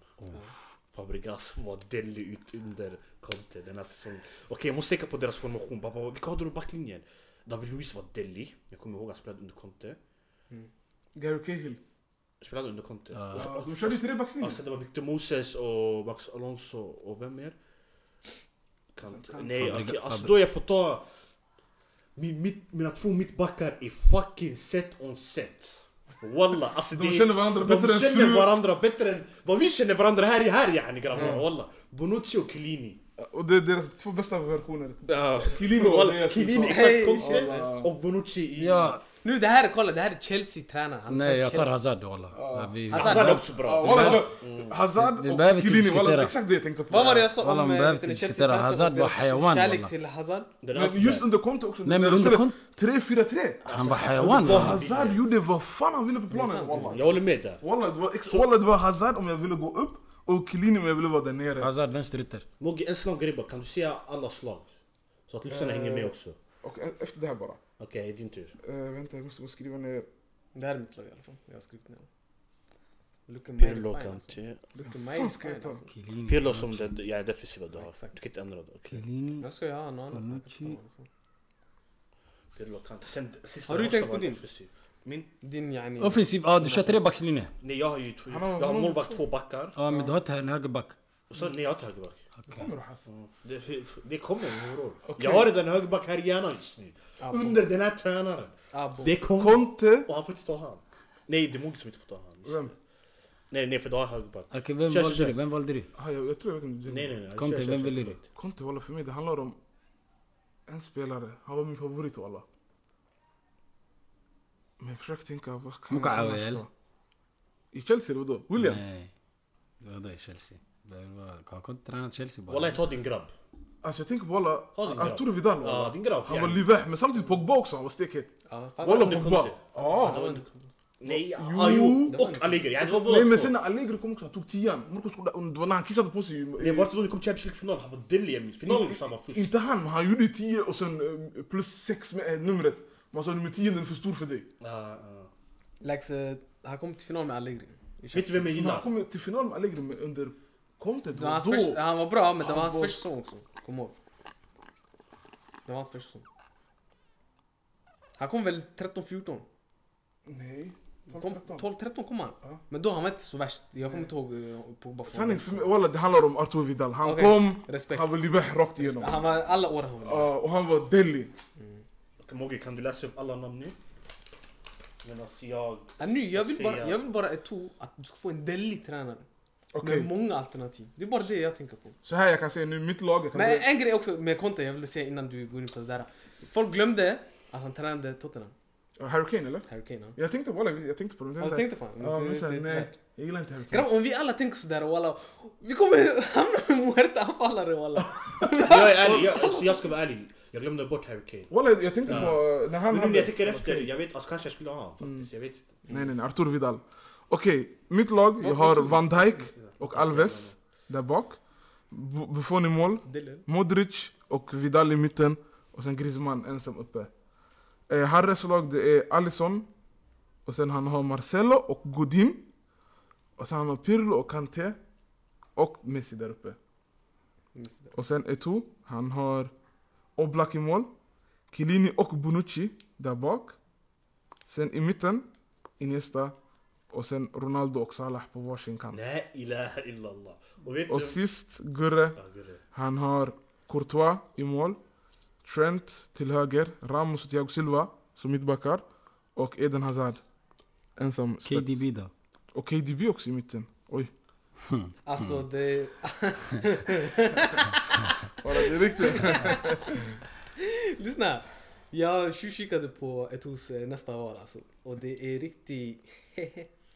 C: Fabregas var deli ut under Conte den här säsongen. Okej, jag måste tänka på deras formation. Pappa, vilka hade de i backlinjen? David Luiz var deli. Jag kommer ihåg han spelade under Conte.
A: Gary Cahill. Ah,
C: Spelade under Conte.
D: Ja.
C: Och så-
A: Ja,
C: och-
A: De körde ju
C: Ja,
A: trebackslinjen.
C: sen det var Victor Moses och Max Alonso och vem mer? Kant.
A: Kant.
C: Nej,
D: Fabregas-
C: okej, alltså
D: Fabregas.
C: då jag får ta... Min, mitt, mina två mittbackar är fucking set on set. Walla, alltså
A: De
C: det är-
A: känner varandra bättre
C: de
A: än
C: känner
A: förut.
C: varandra bättre än vad vi känner varandra här i här yani grabbar.
A: Mm.
C: Walla. Bonucci och Chiellini.
A: Och det är deras två bästa versioner.
C: Ja.
A: Chiellini var det jag skulle
C: Chiellini,
A: ta.
B: Hey,
C: exakt. Conte
A: shit.
C: och Bonucci i...
D: Ja,
B: Nu det här, kolla det här är Chelsea-tränaren. Han
D: nej jag tar
B: Chelsea.
D: Hazard walla. Ja, vi-
B: Hazard.
C: Hazard är också bra.
A: Ja, walla,
D: Vi
A: walla. Ah, Hazard
D: vi
A: och
D: behöver inte
A: Chiellini, walla,
D: diskutera.
A: exakt det jag tänkte på.
B: Vad var det jag sa
D: Walla,
B: om
D: man
B: eh,
D: behöver
B: vet ni,
D: inte
B: Chelsea-fansen
D: diskutera.
B: och
D: Hazard
B: deras
D: var hayawan,
B: Kärlek
D: walla.
B: till Hazard.
C: Den är
A: Men
C: alltid
A: just
C: där.
A: under Conte också.
D: Nej men
A: när de
D: under
A: spelade
D: Conte,
A: 3-4-3.
D: han var hayawan
A: Vad
D: walla.
A: Hazard gjorde, vad fan han ville på planen.
B: sant,
A: walla.
C: Jag håller med där.
A: Walla, det var ex- walla, det var Hazard om jag ville gå upp och Chiellini om jag ville vara där nere.
D: Hazard vänsterytter.
C: Mogge, en snabb grej bara. Kan du säga alla slag? Så att lyssnarna
A: Eh.
C: hänger med också.
A: Och e- efter det här bara.
C: Okej, din tur.
A: Eh, vänta, jag måste gå och skriva ner.
B: Det här är mitt lag i alla fall. Jag har skrivit ner det. Look at my
C: Pirlo
B: fine, alltså.
C: Kanté.
B: Look at
A: Fan
B: my
A: ska jag
B: fine
A: ta?
B: alltså.
D: Chiellini,
C: Pirlo Mm, som det ja, defensiva du har.
B: Exakt.
C: Du kan inte ändra det. okej.
D: Chiellini.
B: Jag ska ju ha någon annan. som jag kan
D: Bonucci.
B: ta, alltså.
C: Pirlo Kanté. Sen sista
B: Har du
C: måste
B: tänkt
C: vara
B: på din?
C: offensiv. Min?
B: Din yani.
D: Offensiv, ja du kör trebackslinje.
C: Nej, jag har ju två.
A: Han har-
C: jag har
A: han har-
C: målvakt, två backar.
D: Ja men du har inte en högerback.
C: Och så, nej, jag har inte högerback.
A: Det kommer Hazard.
C: Mm. Det, det kommer moror. Jag har redan högerback här i hjärnan just nu.
B: Abo.
C: Under den här tränaren.
B: Abo.
C: Det kommer.
A: Conte.
C: Och han får inte ta han. Nej, det är Mogge som inte får ta han.
A: Vem?
C: Nej, nej, för du har högerback.
D: Okej vem
C: Kör,
D: valde
C: kör,
D: du? Vem valde du?
A: Ah, jag, jag tror jag vet inte.
C: Nej, nej, nej.
D: Conte,
C: Kör, kör,
D: vem
C: kör.
D: väljer du?
A: Conte walla för mig, det handlar om en spelare. Han var min favorit walla. Men jag försöker tänka, vad kan
D: Muka
A: jag annars
D: Awel.
A: ta? I Chelsea eller vadå? William?
D: Nej. Vadå i Chelsea? Behöver vara- Har Conte tränat Chelsea bara?
C: Walla, ta din grabb.
A: Alltså jag tänker på walla,
C: Ja, din grabb.
A: Arturo Vidal
C: Ja,
A: walla.
C: din grabb.
A: Han
C: ja.
A: var liveh, men samtidigt Pogba också, han var stekhet.
B: Ja, ah, fan.
A: Walla
C: under
A: Pogba.
C: Conte.
A: Ja.
C: Det var inte- Nej,
A: Jo.
C: ah, jo.
B: Det var
C: Och
B: inte-
C: Allegri. Jag sa båda
A: Nej men
C: två.
A: sen när Allegri kom också, han tog tian. Marcus Kola- Det var när han kissade på sig.
C: Det var inte då det kom Champions League-final, han var deli i finalen
A: Inte-
C: samma fusk.
A: Inte han, men han gjorde 10 och sen eh, plus 6 med eh, numret. Man sa nummer 10 den är för stor för dig.
C: Ja, ja.
B: Lex, eh, han kom till final med Allegri.
C: ah. Vet du vem jag
A: Men han
C: gillar?
A: kom till final med Allegri men under Conte.
B: Det
A: Det
B: var
A: var
B: hans första-
A: då.
B: Han var bra, men det var hans
A: var-
B: första säsong också. Kom ihåg. Det var hans första säsong. Han kom väl 13-14?
A: Nej.
B: Han kom
A: 13.
B: 12-13 kom han.
A: Ja.
B: Men då han var inte så värst. Jag kommer inte ihåg eh, Pogba. från-
A: Sanning för mig, walla det handlar om Arturo Vidal. Han
B: Okej,
A: kom,
B: respekt.
A: han var libeh rakt igenom.
B: Han var alla år han var
A: Ja, och han var deli.
C: Okej, Mogge, kan du läsa upp alla namn nu? Medan jag...
B: Ja, nu, jag vill
C: Ser
B: bara,
C: jag.
B: jag vill bara ett to att du ska få en delig tränare.
A: Okej,
B: Med många alternativ. Det är bara det jag tänker på.
A: så här jag kan säga nu, mitt lag. Jag kan
B: Men
A: säga,
B: en grej också med Conte, jag ville säga innan du går in på det där. Folk glömde att han tränade Tottenham.
A: Eh, Harry Kane eller?
B: Harry Kane.
A: Jag tänkte, walla, jag tänkte på den.
B: Ja. Har du tänkt på
A: Ja, men sen,
B: honom?
A: nej. Jag gillar inte Harry Kane.
B: Grabbar om vi alla tänker sådär walla. [laughs] Vi kommer hamna med muerta anfallare walla.
C: [laughs] Jag är ärlig, jag, alltså, jag ska vara ärlig. Jag glömde bort Harry Kane.
A: Walla, jag tänkte
C: Ja.
A: på när han
C: Men nu
A: hade-
C: när jag tänker efter,
A: Okej.
C: jag vet, alltså, kanske jag skulle ha honom
A: Mm.
C: faktiskt. Jag vet inte.
A: Nej, nej, nej. Artur Vidal. Okej, mitt lag. Jag har Van Dijk och Alves där bak. Bu- Buffon i mål.
B: Dylan.
A: Modric och Vidal i mitten. Och sen Griezmann ensam uppe. Eh, Harres lag det är Alisson. Och sen han har Marcelo och Godin. Och sen han har Pirlo och Kanté. Och Messi där uppe.
B: Just det.
A: Och sen Eto'o, han har Oblak i mål. Chiellini och Bonucci där bak. Sen i mitten, Iniesta. Och sen Ronaldo och Salah på varsin kant.
C: Nej, ilaha illallah. Och vet
A: Och
C: du...
A: sist, Gurre,
C: Ja, det är det.
A: han har Courtois i mål. Trent till höger, Ramos och Thiago Silva som mittbackar. Och Eden Hazard, ensam spets.
D: KDB då?
A: Och KDB också i mitten. Oj.
B: Alltså
C: Mm.
B: det... [laughs]
A: Bara det är riktigt.
B: Lyssna! Jag tjuvkikade på Etos eh, nästa val alltså. Och det är riktigt...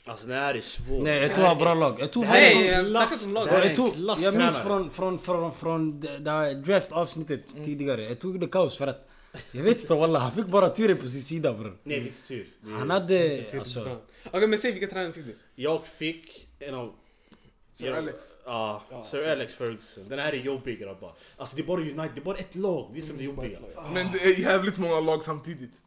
C: Alltså det här är svårt.
D: Nej, Eto'o har bra lag. Eto'o
C: Det
D: har
C: här
B: Nej,
C: är
B: jag
C: en
B: snackar
C: last.
B: om lag.
C: Det här är en
D: Eto'o- jag minns
C: klasstränare.
D: från, från, från, från det det här draft-avsnittet tidigare. Eto'o gjorde kaos för att... Jag vet inte walla, han fick bara turen på sin sida bror.
C: Nej, lite tur. Det är-
D: Han hade...
B: Bra.
D: Alltså,
B: Okej men säg vilka tränare fick du?
C: Jag fick en av...
A: Sir
C: jag,
A: Alex.
C: Ja, Sir Alex Ferguson. Den här är jobbig grabbar. Alltså det är bara United, det är bara ett lag. Det är som det
B: Bara
C: jobbiga.
B: ett lag.
A: Men det är jävligt många lag samtidigt.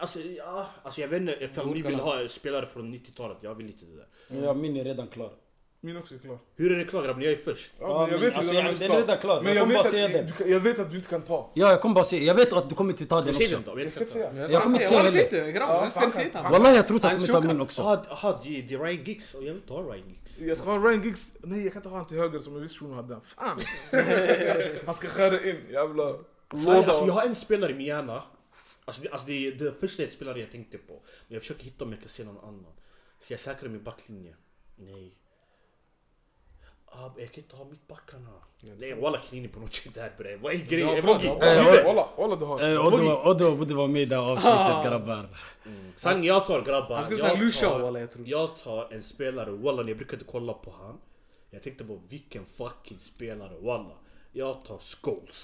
C: Alltså, ja, alltså jag vet inte ifall ni vill ha spelare från 90-talet. Jag vill inte det där.
D: ja, min är redan klar.
A: Min också är klar.
C: Hur är det klart grabbar? Jag är först.
A: Ja,
D: Ja,
A: men jag
D: men
A: vet
D: alltså,
A: redan
D: jag-
A: vem
D: den
A: som
D: är
A: tar.
D: redan klar.
A: Men
D: Jag
A: jag
D: kommer
A: vet,
D: bara
A: att,
D: säga
A: du,
D: den.
A: kan- jag vet att du inte kan ta.
D: Ja, jag kommer bara säga. Jag vet att du kommer inte ta den
C: Säg den då.
D: också.
C: Jag
A: Jag
C: vet
A: ska
C: inte.
A: inte säga.
B: Jag
D: kommer inte säga
B: Varför
D: heller.
B: inte? Grabbar,
A: Ja,
B: hur ska ni
A: fan,
B: säga till honom?
D: Walla jag tror att han
B: Han
D: kommer ta
B: chokar.
D: min också.
C: Had, had, det är Ryan Giggs. Och jag vill inte ha Ryan Giggs.
A: Jag ska ha Ryan Giggs. Nej, jag kan inte ha han till höger som jag visste Shuno hade.
D: [laughs]
A: Fan! han ska skära in. Jävla
C: Fan, alltså, jag
A: låda.
C: har en spelare i min hjärna. Alltså, det, alltså, det är det första spelare jag tänkte på. Men jag försöker hitta om jag kan se någon annan. Så jag säkrar min backlinje. Nej. Ah, jag kan inte ha mittbackarna. Nej walla Chiellini på något sätt där bre. Vad är
A: Ja,
C: grejen?
A: bra,
C: Emoji!
A: bra, bra.
C: Vad är det?
A: Walla, walla du har.
D: Eh, Oddo Oddo borde vara med i det här
B: Ah.
D: avsnittet grabbar.
C: Sanning jag tar grabbar.
B: Han skulle
C: Jag
B: säga Lucio,
C: tar-
B: walla, jag tror.
C: Jag tar en spelare, walla jag brukar inte kolla på han. Jag tänkte på vilken fucking spelare, walla. Jag tar Scholes.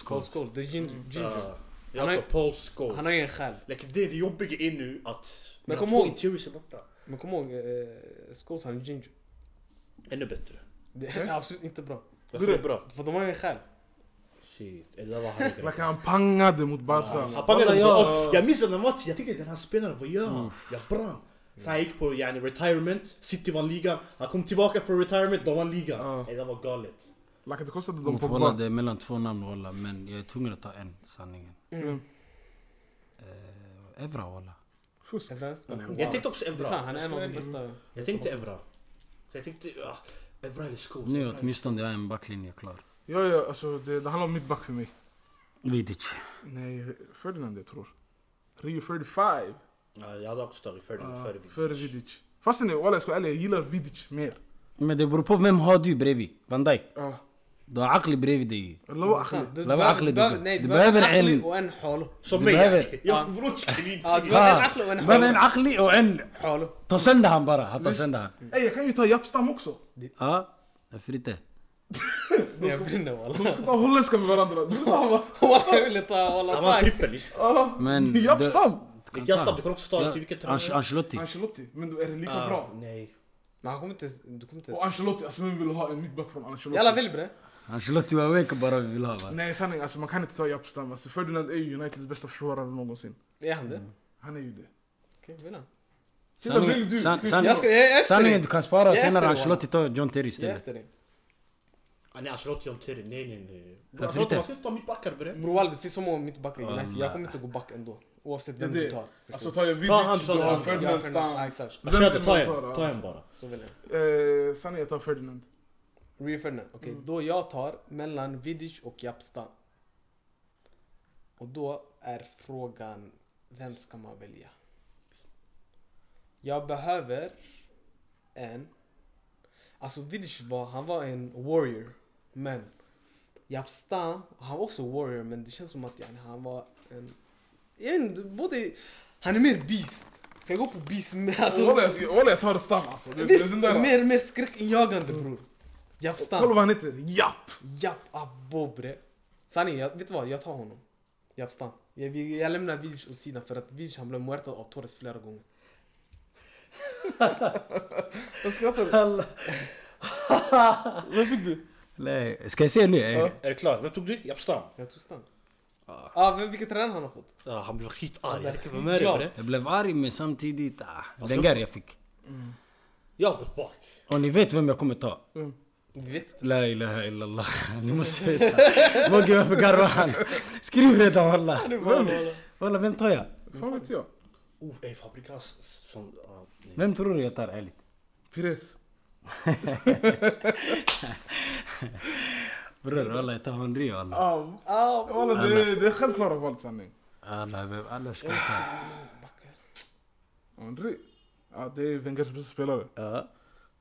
B: Skål skål, det är Ginger. Ginger.
C: Ah, jag
B: Han har-
C: tar Paul Scholes.
B: Han har ingen själ.
C: Like, det, det jobbiga är nu att
B: Men
C: mina
B: kom
C: två
B: ihåg-
C: interiors är borta.
B: Men kom ihåg, eh, Scholes han är Ginger.
C: Ännu bättre.
B: [laughs] Det är absolut inte bra.
C: Varför är det bra?
B: För de har ingen själ.
C: Shit, eller vad han
A: Like han pangade mot Barca.
C: Han pangade
D: Walla, jag-
C: jag... jag minns den här matchen, jag tänkte den här spelaren, vad gör han? Jag brann. Så han gick på yani, retirement, City vann ligan. Han kom tillbaka från retirement, de vann ligan.
A: Ja.
C: Ey, Det var galet.
A: Like det kostade dem
D: Uff,
A: på
D: Walla
A: bra.
D: det är mellan två namn walla men jag är tvungen att ta en, sanningen.
A: Mm.
D: Eh, Evra walla.
A: Fusk.
B: Evra Östberg.
C: Jag tänkte också
B: Det är sant,
C: Evra.
B: han är en av de bästa.
C: Jag tänkte Evra. Så jag tänkte, ah, Evra är skog.
D: Nu åtminstone jag har en backlinje klar.
A: Ja, ja, alltså det, det handlar om mittback för mig.
D: Vidic.
A: Nej, Ferdinand jag tror. Rio 45.
C: Ja, jag hade också tagit Ferdinand
A: Ah,
C: före Vidic.
A: Före Vidic. Fastän walla jag ska vara ärlig, jag gillar Vidic mer.
D: Men det beror på vem har du bredvid? Van Dijk.
A: Ja.
D: Du har Akli bredvid dig.
A: Eller vad Ahmed?
B: Du- du
D: Lava
B: behöver-
D: Akli,
B: du behöver-
D: du-
B: nej,
D: du
B: Du behöver en
D: behöver
B: Akli
D: en-
B: och en Hol.
C: Som
D: Du
C: mig [laughs]
D: behöver-
C: yani.
B: Ah.
C: Jag bror Chiellini.
B: Ja, du behöver en
D: Ah,
B: Akli och en
D: du
B: Hol.
D: behöver en Akli och en...
B: Hol.
D: [laughs] Ta sönder han bara. Han tar
A: Visst.
D: sönder han.
B: Mm.
A: Ey, jag kan ju ta Japstam också.
D: Ja, varför inte?
B: Jag [laughs] brinner walla.
A: Vi ska ta holländska med varandra. Vi ska
D: [laughs]
A: ta va-
B: Walla jag ville ta
C: Han vann
B: walla. fuck.
C: trippel just
B: Ah,
A: Ja.
B: [laughs]
D: Men...
A: Japstam!
D: kan
C: Jag
D: ta.
C: snabbt, du kan också ta typ till vilken
D: Anc-
C: tränare?
D: Ancelotti.
A: Ancelotti, men då är det lika
C: Ah,
A: bra.
C: Nej.
B: Men han kommer inte ens... Du kommer inte
A: Och
B: ens...
A: Ancelotti, alltså vem vill ha en mittback från Ancelotti?
B: Jalla välj bre.
D: Ancelotti var awake bara vi vill ha va?
A: Nej sanning, alltså man kan inte ta Japstam. Alltså Ferdinand är ju Uniteds bästa försvarare någonsin.
B: Är han det?
A: Han är ju det.
B: Okej, vill han?
A: Killar,
D: Sanningen-
A: vill du?
D: san-
A: Skit-
D: san-
B: Jag ska... Jag är efter
D: Sanningen
B: dig.
D: du kan spara
B: Jag är
D: senare
B: efter
D: Ancelotti tar John Terry
B: Jag är
D: istället.
B: efter dig.
C: Ah, Nej, Ancelotti och Terry. Nej, nej, nej.
D: Varför
C: Ancelotti,
D: inte?
C: man ska inte ta mittbackar bre.
B: Bror walla det finns så många mittbackar i
D: Walla.
B: United. Jag kommer inte gå back ändå. Oavsett vem
A: Det är
B: du
A: det.
B: tar.
A: Alltså
B: Förstår
A: tar jag Vidic,
C: Ta han, ta
A: då har
C: han.
B: du? Ja,
A: Ferdinand
B: Ferdinand. Ja,
A: Stam.
B: exakt.
A: Vem
C: Kör
A: vill
C: det,
A: man
C: ta
A: ta då?
C: en. Ta en bara.
B: Så väljer jag.
A: Eh, sanning, jag tar Ferdinand.
B: Rio Ferdinand. Okej, då jag tar mellan Vidic och Japstam. Och då är frågan, vem ska man välja? Jag behöver en... Alltså Vidic var, han var en warrior. Men Japstam, han var också warrior men det känns som att yani, han var en... Jag vet inte, både... Han är mer beast. Ska jag gå på beast? [laughs] Men
A: Alltså,
B: Alltså,
A: Walla jag- walla, jag tar Stam alltså. Det- det är
B: visst,
A: den där-
B: mer, mer skräckinjagande bror. Japstam.
A: Kolla vad han heter. Japp!
B: Japp abobre. Sanning, jag, vet du vad? Jag tar honom. Japstam. Jag, vi- jag lämnar Vidic åt sidan för att Vidic han blev muertad av Torres flera gånger. De skrattar. Vad fick du?
D: Nej, ska jag säga nu?
A: Ja.
C: Är det klart? Vem tog du? Japstam?
B: Jag tog stan.
C: Ah.
B: Ah, vem, vilken tränare han har fått?
C: Ja, han blev
B: Han
C: skitarg.
B: blev
C: Jag kan vara med dig på
B: skitglad.
C: det.
D: Jag blev arg men samtidigt... Ah,
C: Vad
D: den
C: ska-
D: där jag fick.
C: Jag har gått bak.
D: Och ni vet vem jag kommer ta?
B: Vi vet inte.
D: La ilaha illallah. Ni måste [laughs] veta. Mogge varför garvar han? Skriv redan walla.
B: Det var-
D: Walla vem tar jag?
A: Fan vet jag?
C: Oh, ey Fabregas som... ja, nej.
D: Vem tror du jag tar ärligt?
A: Pires.
D: Bror walla jag tar Henry walla.
A: Ah,
B: Ah,
A: Walla det, det är självklara val sanning.
D: Alla, vem annars ska jag ta?
B: backar.
A: Henry. Ja det är Wengers bästa spelare.
C: Ja.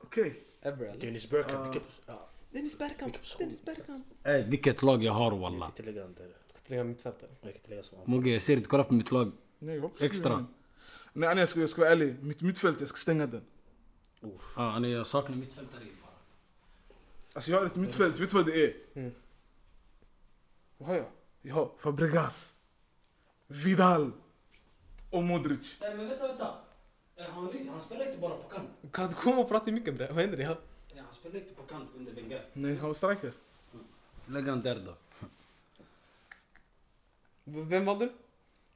A: Okej.
B: Eberl.
C: Dennis Bergkamp,
A: Ah.
C: vilken position? Ja,
B: Dennis Bergkamp.
C: Vilken position?
B: Dennis Bergkamp.
D: Ey, vilket lag jag har
C: jag
D: walla.
C: kan tillägga den där.
B: Jag kan lägga mittfältare.
C: Jag kan tillägga som han.
D: Mogge jag ser inte, kolla på mitt lag.
A: Nej, jag hoppas
D: Extra.
A: det. Nej Anja, jag ska, jag ska vara ärlig. Mitt mittfält, jag ska stänga den.
D: Ja, nej, jag saknar mittfältare bara.
A: Alltså jag har ett mittfält, vet du vad det är?
B: Mm.
A: Vad har jag? Jag har Fabregas. Vidal. Och Modric.
E: Nej men vänta, vänta. Eh, Han, han spelar inte bara på kant.
B: Kan du komma och prata i micken bre? Vad händer? Ja.
E: Eh, Han spelar inte på kant under Wenger.
A: Nej, han var striker.
D: Lägg han där då.
B: V- Vem valde du?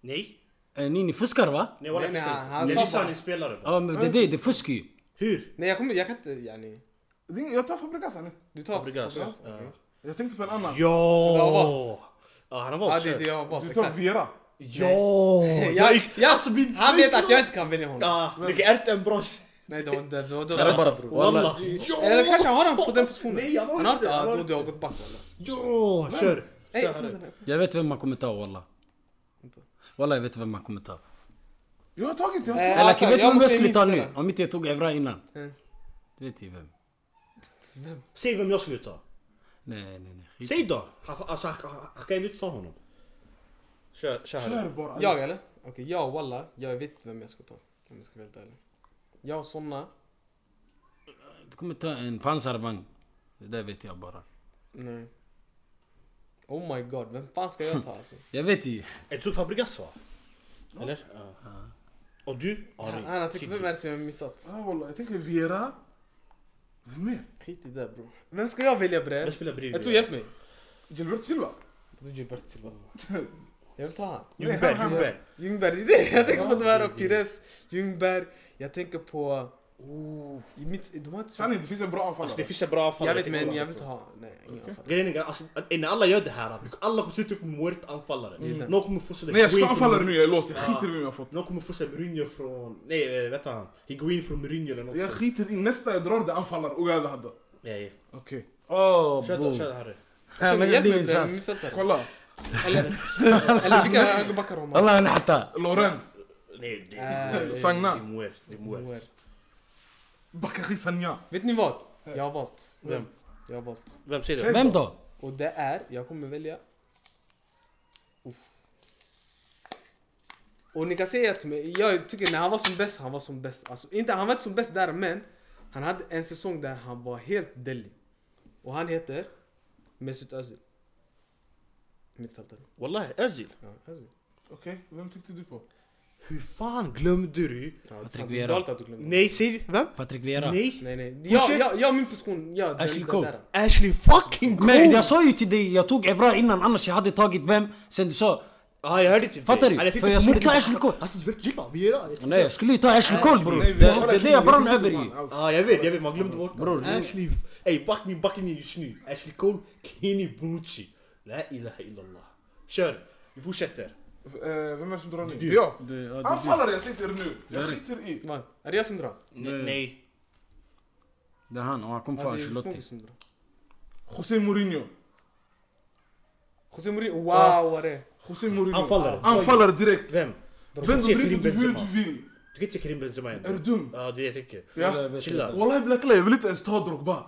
C: Nej!
D: Eh, ni, ni fuskar va?
C: Nej walla
B: Nej, nej, han- han
C: jag
B: sa
C: förstår inte.
B: bara-
C: Han är spelare bara.
D: Ja, men det, det, det fuskar ju.
C: Hur?
B: Nej jag kommer, jag kan inte yani.
A: Det är ing- Jag tar Fabregas nu.
B: Du tar
C: Fabregas.
B: Fabregas,
C: Ja. Mm.
B: okej.
A: Jag tänkte på en annan.
B: det har
C: Ja!
B: varit-
C: Ja, han har
B: Ja
C: valt
B: det är det
C: själv.
B: jag har valt,
A: Du tar
B: exakt.
A: Vera.
C: Ja!
B: Jag-
C: Jag gick-
B: jag-
C: alltså, min-
B: Han vet att jag inte kan välja honom.
C: Ja, vilken ärten brors!
B: Nej det var det. var- det
D: Det
B: var-
D: är bara bror. Walla.
C: Walla!
B: Eller kanske har han på den positionen?
C: Nej, jag har
B: han har
C: inte,
B: inte?
C: jag
B: Ja,
C: har
B: då
C: inte.
B: du har gått back walla.
C: Ja, kör!
B: Nej,
C: Kör.
B: nej, nej,
D: Jag vet vem man kommer ta walla.
B: Vänta.
D: Walla jag vet vem man kommer ta.
A: Jag har tagit, jag
B: Eh,
A: har tagit.
D: Eller
B: Alltså,
D: alltså, vet du
B: jag
D: vem jag
B: måste
D: skulle ta nu?
B: inställa.
D: Om inte jag tog Evra innan.
B: Mm.
D: Du vet ju vem.
C: Säg vem jag skulle ta.
D: Nej, nej, nej. Skit.
C: Säg då! Han, alltså, han, han, han kan ju inte ta honom. Kör, kör.
A: Kör
C: här.
A: bara.
B: Jag eller? Okej, jag walla. Jag vet vem jag ska ta. Om jag ska vara helt ärlig. Jag har såna.
D: Du kommer ta en pansarvagn. Det där vet jag bara.
B: Nej. Oh my god, vem fan ska jag ta [laughs] alltså?
D: Jag vet ju.
C: Är du Fabregas va? Eller? Ja. Och du?
B: Han
C: Ari.
B: han har tänkt,
C: City.
B: typ, vem är det som jag har missat?
A: Ja, wallah, jag tänker Vera. Vem mer?
B: Skit i det bro. Vem ska jag välja bre?
C: Jag spelar bredvid.
B: Jag tror hjälp mig.
A: Gilbert Silva.
B: Du Gilbert Silva. [laughs] Jag vill ta han.
A: Nej,
C: Ljungberg,
A: han-
C: Ljungberg.
B: Ljungberg, det är det. Jag tänker på de här och Pires, Ljungberg. Jag tänker på... Oh, i mitt, de har inte så...
A: Sanning, det finns en bra anfallare.
C: Alltså det finns en bra anfallare.
B: Jag vet
C: tänker
B: men
C: också
B: jag
C: på.
B: vill inte ha... Nej, ingen anfall.
C: Grejen är alltså, när alla gör det här, alla kommer sluta upp med muert anfallare.
B: Mm.
C: Någon kommer få sig
A: Nej jag ska ta
C: Higuain
A: anfallare
C: från-
A: nu, jag är låst. Jag
C: Ja.
A: skiter i vem jag har fått.
C: Någon kommer få sig Mourinho från... Nej, eh, vet han? Higuain från Mourinho eller något.
A: Jag
C: sånt.
A: skiter i, nästa jag drar det är anfallare och jag hade.
C: Nej.
A: Okej.
D: Åh,
C: Kör då,
D: bo.
C: kör Harry.
D: Ja, men det
B: Hjälp
D: blir
B: mig bre,
D: insats.
B: mittfältare.
A: Kolla,
B: Eller vilka högerbackar har man?
D: Alla han hatta.
A: Loren.
C: Nej, det- det
B: Äh,
C: är muert.
A: Sagna.
C: Det är muert. Det är muert.
B: Moer.
A: Bakari Sanja.
B: Vet ni vad? Jag har valt.
C: Vem?
B: Jag har valt.
C: Vem säger det?
D: Vem då?
B: Och det är, jag kommer välja... Uff. Och ni kan säga till mig, jag tycker när han var som bäst, han var som bäst. Alltså, inte, han var inte som bäst där men, han hade en säsong där han var helt deli. Och han heter Mesut Özil. Mittfältare.
C: Wallahi, Özil.
B: Ja, Özil.
A: Okej, vem tyckte du på?
C: Hur fan glömde du?
B: Ja,
D: Patrik
B: det är
D: Vieira.
B: galet att du glömde.
C: Nej, säg vem?
D: Patrik Vera.
C: Nej.
B: Nej nej. Jag,
C: shit.
B: jag, jag, min position, jag, den,
D: Ashley
B: den
D: Cole.
B: där.
C: Ashley fucking Cole!
D: Men jag sa ju till dig, jag tog Evra innan annars jag hade tagit vem. Sen du sa...
C: Ja, jag hörde inte.
D: Fattar du?
C: Ja,
D: För jag skulle ta Ashley Cole.
C: Alltså, du vet, Jimma, vi gör det.
D: Nej jag skulle ju ta Ashley Cole bror.
A: Nej,
D: Det
A: vi har
D: det är det jag
A: Kili,
D: brann
A: vi
D: över
A: skiter
D: i.
A: i man, alltså.
C: Ja, Ah, jag vet, jag vet. Man glömde bort Bror, Ashley. Ey, backning, backning just nu. Ashley Cole, Kenny Bonucci. La ilaha illallah. Kör, vi fortsätter.
A: Eh, Vem är det som drar nu? Det
C: Du.
A: är jag.
D: Det- ja, det-
A: Anfallare jag sitter nu. Jag
D: Där.
A: skiter i.
B: Vad? Är det jag som drar?
D: Nej.
C: Nej.
D: Det är han och han kom
B: Ja,
D: från
B: det är många
D: Ancelotti.
B: som drar.
A: José Mourinho.
B: José Mourinho, wow
A: Ja.
B: vad det är.
A: José Mourinho.
C: Anfallare.
A: Anfallare direkt.
C: Vem? Du kan
A: Vänd och
C: inte se
A: vrid
C: Karim
A: på hur
C: Benzema.
A: du vill.
C: Du kan inte se Karim Benzema
A: Är du
C: ändå.
A: dum?
C: Ja, det är det jag tänker.
A: Ja.
C: Chilla.
A: Wallahi blackley, jag vill inte ens ta Drogba.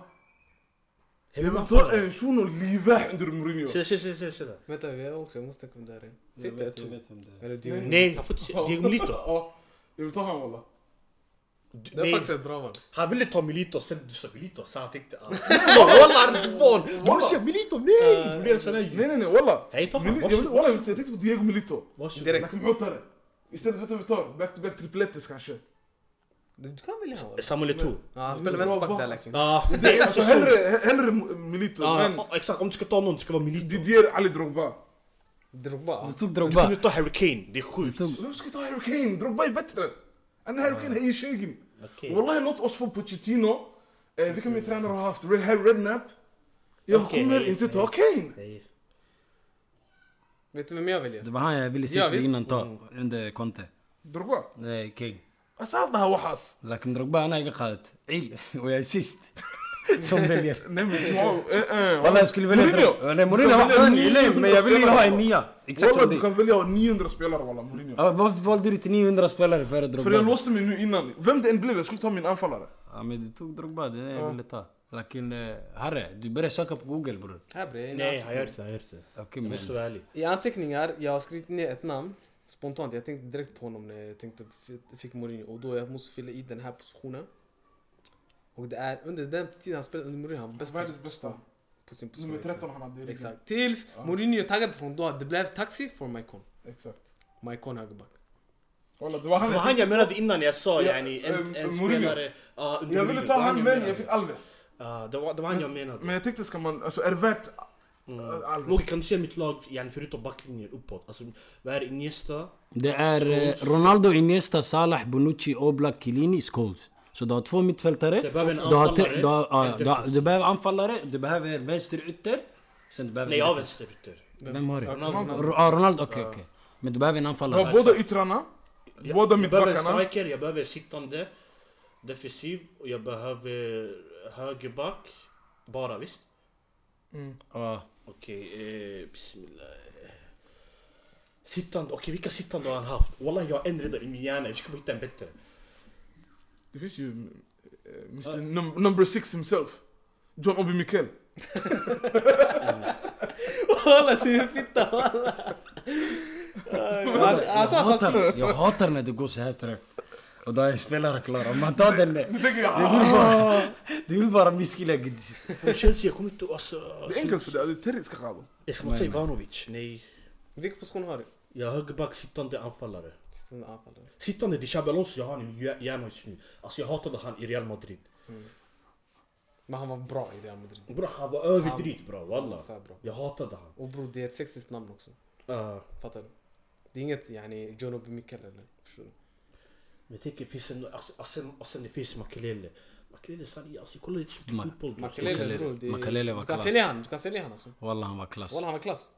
C: Hej,
A: Jag
C: vem
A: vill ta
C: anfallare?
A: en shuno livah under Mourinho.
C: Chilla, chilla, chilla, chilla, chilla.
B: Vänta, vi har också, jag måste tänka om det här är. Sitter jag tror. Eller du.
A: [laughs]
C: Nej, han får inte se. Diego Milito.
A: Ja, jag vill ta han wallah.
C: Du-
B: Det är
C: Nej,
B: faktiskt ett bra val.
C: han ville ta Milito, sen du sa Milito, så han tänkte ah, Walla [laughs] Arbon! Du borde säga Milito, nej! Det blir en sån här
A: Nej
C: ljud.
A: nej nej walla!
C: Hej ta
A: Mili-
C: fan,
A: jag vill-
C: varsågod.
A: Walla jag tänkte på Diego Milito.
C: Varsågod.
B: Direkt.
A: Jag kan hota det. Istället vet du vad vi tar? Back to back triplettes kanske.
B: Du kan välja honom.
C: Samuel Eto'o.
B: Ja, han spelar vänsterback där liksom.
C: Ja,
A: Det är alltså
C: alltså så.
A: hellre, hellre Milito
C: Ja,
A: men
C: ja, exakt, om du ska ta någon, det ska vara Milito.
A: Didier Ali Drogba.
B: Drogba.
D: Du tog
C: Du
D: Drogba.
C: kunde ta Harry Kane, det är sjukt.
D: Du tog-
A: Vem ska ta Harry Kane? Drogba är bättre. Han Harry Kane höjer stegen.
C: Okej.
A: Wallahi låt oss få Pochettino. Eh, vilka mer tränare har haft? Red, Harry Redknapp. Jag
C: Okej,
A: kommer
C: nej,
A: inte
C: nej.
A: ta Kane.
C: Nej.
B: Vet du vem jag
D: Det
B: väljer?
D: var han e jag ville se
B: Ja,
D: till
B: visst.
D: innan ta, under Conte.
A: Drogba.
D: Nej, King.
A: Assad det här wahas.
D: لكن دربا انا قاعد [laughs] عيل ويا سيست som väljer.
A: Nej men wow. Eh, eh.
D: والله jag skulle välja
A: Mourinho.
D: Dro- Nej
A: Du
D: Mourinho
A: kan
D: var
A: välja
D: skön i liv men jag ville ju ha en
A: 900
D: nia. Exakt
A: Walla
D: som
A: du
D: dig.
A: kan välja 900 spelare walla Mourinho.
D: Ja, Varför valde du till 900 spelare före
A: För jag
D: Drogba?
A: låste mig nu innan. Vem det än blev, jag skulle ta min anfallare.
D: Ja men du tog Drogba, det är det
A: Ja.
D: jag ville ta. Lakin eh, Harre, du började söka på google bror.
B: Här bre,
C: Nej,
B: nej.
C: han gör inte, han gör inte.
D: Okej
C: Jag
D: men.
C: måste vara ärlig.
B: I anteckningar, jag har skrivit ner ett namn. Spontant, jag tänkte direkt på honom när jag tänkte, f- fick Mourinho. Och då jag måste fylla i den här positionen. Och det är under den tiden han spelade under Mourinho, han var bäst på,
A: Världens bästa.
B: på sin position.
A: Nummer 13 han hade. i ryggen.
B: Exakt. Tills Mourinho taggade från då, det blev taxi för Maicon.
A: Exakt.
B: Maicon [laughs] högerback.
A: Walla det var
C: Det
A: han.
C: var han jag menade innan jag sa
A: Ja,
C: yani, en,
A: eh,
C: en
A: Mourinho.
C: spelare... Ja, under
A: Jag
C: Mourinho.
A: ville
C: Det
A: ta
C: var
A: han
C: jag
A: men
C: menade.
A: jag fick Alves.
C: Ja, det var, det var han jag menade.
A: Men jag tänkte ska man, alltså är det värt
C: Mm.
A: äh, Alves?
C: Logi, kan du se mitt lag, yani förutom backlinjen, uppåt? Alltså, vad är Iniesta?
D: Det är eh, Ronaldo, Iniesta, Salah, Bonucci, Oblak, Chiellini, Scholes. Så du har två mittfältare.
C: Så jag behöver en
D: du, har
C: anfallare,
D: te- du, har, ja,
C: en
D: du, har,
C: defensiv.
D: du behöver anfallare, du behöver vänsterytter. Sen du behöver...
C: Nej, jag har vänsterytter.
D: Vem har du?
B: Ronaldo.
D: Ro- ah, Ronaldo, okej okej. Men du behöver en
A: Du har
D: anfallare.
A: båda yttrarna,
C: Jag,
A: båda
C: jag behöver en
A: mittbackarna.
C: striker, jag behöver sittande defensiv och jag behöver högerback. Bara, visst?
A: Mm.
D: Ja.
C: Okej, eh, bismillah. Sittande, okej vilka sittande har han haft? Wallah jag har en redan i min hjärna, jag ska bara hitta en bättre.
A: [laughs] Det finns ju eh, Mr. Num- number six himself. John Obi Mikel.
B: Walla du är fitta walla! Alltså,
D: Jag
B: alltså, alltså,
D: hatar, jag hatar när det går så här trögt. Och då är spelare klara. Om man tar den... Det
A: tänker jag,
D: vill bara... Det vill bara missgilla.
C: Från Chelsea, jag kommer inte alltså...
A: Det är enkelt för dig, Terry ska ha
C: Jag ska ta Ivanovic, nej.
B: Vilken position har du?
C: Jag har högerback, sittande anfallare.
B: Sittande anfallare.
C: Sittande det är Xabi Alonso jag har i min hjär- hjärna just nu. Alltså jag hatade han i Real Madrid.
B: Men han var bra i Real Madrid.
C: Bror han var överdrivet bra,
B: Han var
C: wallah.
B: för bra.
C: Jag hatade han.
B: Och bror det är ett sexigt namn också.
C: Uh,
B: Fattar du? Det är inget yani John Obi Mikkel eller? Förstår du?
C: men jag tänker, finns en, alltså, och sen, och sen det finns Makelele. Makelele, sanning, alltså kolla lite så
D: Ma-
C: mycket fotboll. då.
B: Makelele bror. det är-
D: Makelele var
B: Du kan
D: klass.
B: sälja han, du kan sälja han alltså.
D: Wallah han var klass.
B: Walla han var klass.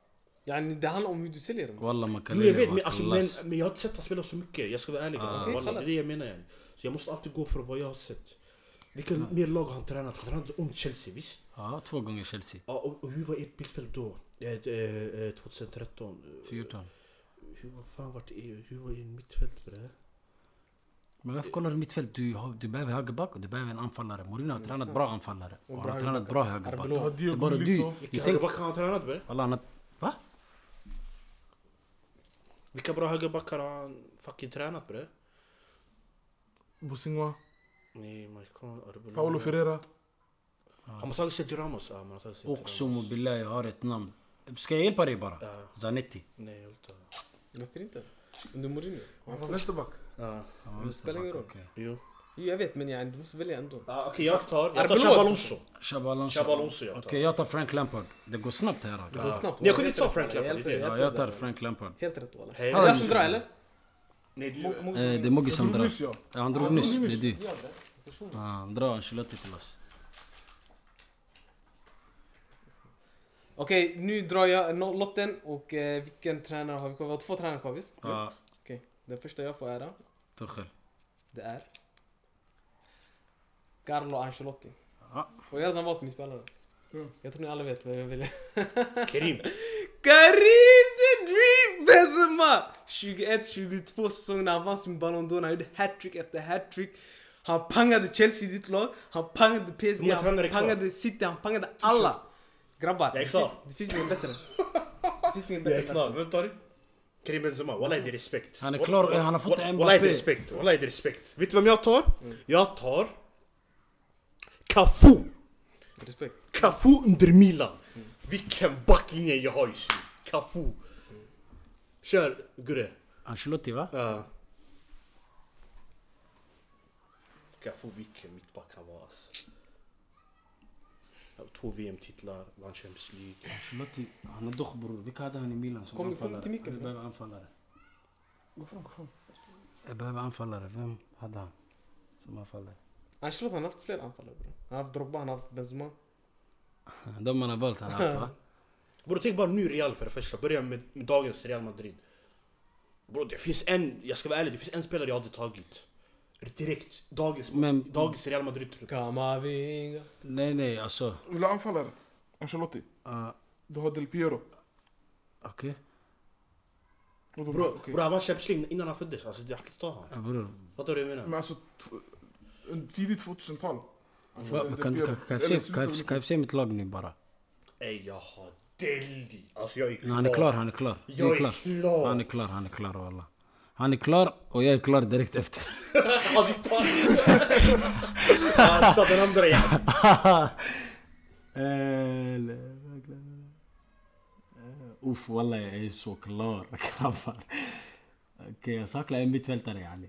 B: Yani det handlar om hur du säljer den.
C: Jo
D: Wallah
C: jag
D: Makalele
C: vet
D: var
C: men, alltså, men,
D: klass.
C: men jag har inte sett han spela så mycket, jag ska vara ärlig.
D: Ah.
B: Okej,
C: Wallah, det
B: kallas.
C: är det jag menar yani. Så jag måste alltid gå för vad jag har sett. Vilka
D: Ah.
C: mer lag har han tränat? Han tränade om Chelsea visst?
D: Ja, två gånger Ah, Chelsea.
C: Ja, och, och hur var ert mittfält då? Eh, eh, eh, 2013?
D: 14.
C: Hur vad fan vart det? Hur var er mittfält för det? här?
D: Men varför kollar du mittfält? Du, har- du behöver högerback och du behöver en anfallare. Mourinho har tränat bra anfallare.
B: Och
D: Och
B: bra
D: han har tränat bra högerback.
A: Du
B: Arbeloa.
A: har
D: Det är
A: Diego
D: bara du.
A: Milito.
D: du
C: Vilka
D: tänk,
C: högerbackar har han tränat med?
D: wallah, han har... Va?
C: Vilka bra högerbackar har han fucking tränat med?
A: Bosingwa,
C: Nej, Maikon, Arbeloa.
A: Paolo Ferreira.
C: Han har tagit sig till Ramos. Ja, man har tagit sig till
D: Och som
C: Ramos.
D: billah, jag har ett namn. Ska jag hjälpa dig bara?
C: Ja,
D: Zanetti.
C: nej, jag vill inte. ha-
B: Varför inte? Under Mourinho.
A: Han var vänsterback.
C: Ja,
D: Ja,
B: Det spelar ingen roll.
D: okej.
C: jo.
B: Jo jag vet men yani du måste välja ändå.
C: Ah, Okej, jag tar. Jag tar
B: Arbeloa.
C: Xabi Alonso.
D: Xabi Alonso.
C: Xabi Alonso, jag tar.
D: Okej, jag tar Frank Lampard. Det går snabbt här.
B: Det
D: alltså.
B: går snabbt.
C: Men jag kunde inte ta
B: Helt
C: Frank
B: rätt,
C: Lampard,
B: jag älskar-
C: det är
D: Ja,
B: jag
D: jag
B: älskar
D: tar
B: det.
D: Frank Lampard.
B: Helt rätt walla.
C: Hej.
B: Är det jag som drar eller?
C: Nej, du.
D: Eh, det är Moggi som
A: Jag
D: drar.
A: drog nyss, ja.
D: Ja, han drog nyss.
A: drog
D: Det är
A: nyss.
D: du.
B: Ja, det.
D: Ja, Han drar Ancelotti till oss.
B: Okej, nu drar jag no- lotten och eh, vilken tränare har vi kvar? Vi har två tränare kvar visst?
D: Ja,
B: Okej, den första jag får ära,
D: Tuchel.
B: det är Carlo Ancelotti.
D: Ja.
B: Och jag har redan valt min spelare.
A: Mm.
B: Jag tror ni alla vet vem jag väljer.
C: Kerim.
B: Karim the Dream Benzema! 21-22 säsong när han vann sin Ballon d'Or, han gjorde hattrick efter hattrick. Han pangade Chelsea, ditt lag. Han pangade
C: Hur
B: PSG,
C: många tränare
B: han
C: är kvar?
B: pangade City, han pangade alla. Grabbar,
C: Jag är
B: det finns,
C: klar.
B: det finns ingen bättre. Det finns ingen
C: Jag
B: bättre.
C: är klar. Vem tar du? Karim Benzema, wallah det är respekt.
D: Han är klar,
C: Wallah-
D: han har fått en
C: Wallah det är
D: Mbappé.
C: respekt, wallah det är respekt. Vet du vem jag tar? Jag tar... Cafu!
B: Respekt.
C: Cafu under Milan. Vilken backlinje jag har just nu. Cafu. Mm. Kör Gurre.
D: Ancelotti va?
C: Ja. Cafu, vilken mittback han var alltså. Två VM-titlar, vann Champions League.
D: Ancelotti, han är dock bror. Vilka hade han i Milan som
B: Kom- kom
D: anfallare?
B: till micken.
D: Jag behöver anfallare. Jag behöver anfallare. Vem hade han som anfallare?
B: Ancelotti han har haft flera anfallare bro. Han har haft Drogba, han har haft Benzema.
D: De man har valt han har haft va?
C: Bror tänk bara nu Real för det första, börja med, med dagens Real Madrid. Bror det finns en, jag ska vara ärlig, det finns en spelare jag hade tagit. Direkt, dagens,
D: Men-
C: dagens Real Madrid tror jag.
B: Kamavinga.
D: Nej nej alltså.
A: Vill du ha anfallare? Ancelotti?
D: ah,
A: Du har Del Piero.
D: Okej.
A: Och då-
C: Bror
A: okej.
C: bror, han vann Champions League innan han föddes, alltså jag kan inte ta honom.
D: Ja, Bror.
C: Fattar du vad jag menar?
A: Men alltså, tw- en tidigt 2000-tal.
D: Va-
A: Del
D: Kan
A: Piero.
D: kan- kan jag
A: Eller
D: se-
A: slutet
D: kan
A: av
D: jag- kan jag se mitt lag nu bara?
C: Ey jag har Delhi. Alltså jag är klar.
D: Nej, Han är klar,
C: [laughs]
D: han är klar. Du
C: Jag är klar.
D: Han är klar, han är klar wallah. Han är klar och jag är klar direkt efter.
C: Alltså ta Ja, ta den andra jäveln.
D: Eller... [laughs] Uff wallah jag är så klar grabbar. Okej jag saknar en mittfältare yani.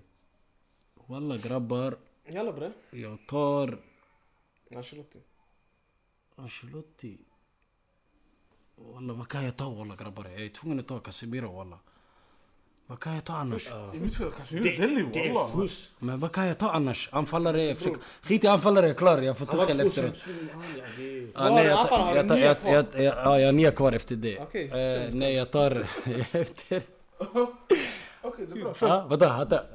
D: Wallah grabbar,
B: Jalla bre.
D: jag tar
B: Ancelotti.
D: Ancelotti. Wallah vad kan jag ta wallah grabbar? Jag är tvungen att ta Casemiro wallah. Vad kan jag ta annars?
A: I mitt fel kanske
C: Det-
A: jag Delhi
C: det är
A: wallah.
C: fusk.
D: Men vad kan jag ta annars? Anfallare, jag försöker... Skit i anfallare, jag är klar. Jag får
C: Han
D: ta
C: var
D: själv
C: två
D: efteråt.
C: Champions League. han, ja, det är-
D: Ja,
B: Var
D: nej,
B: det?
D: jag,
B: Anfall har
D: tar, jag,
B: du
D: tar,
B: nio
D: jag,
B: kvar?
D: jag, jag, ja, jag har nio kvar efter det.
B: Okej,
D: eh,
B: sen.
D: nej, jag tar [laughs] efter...
A: Okej, det är bra.
D: Ja, vadå? Han tar...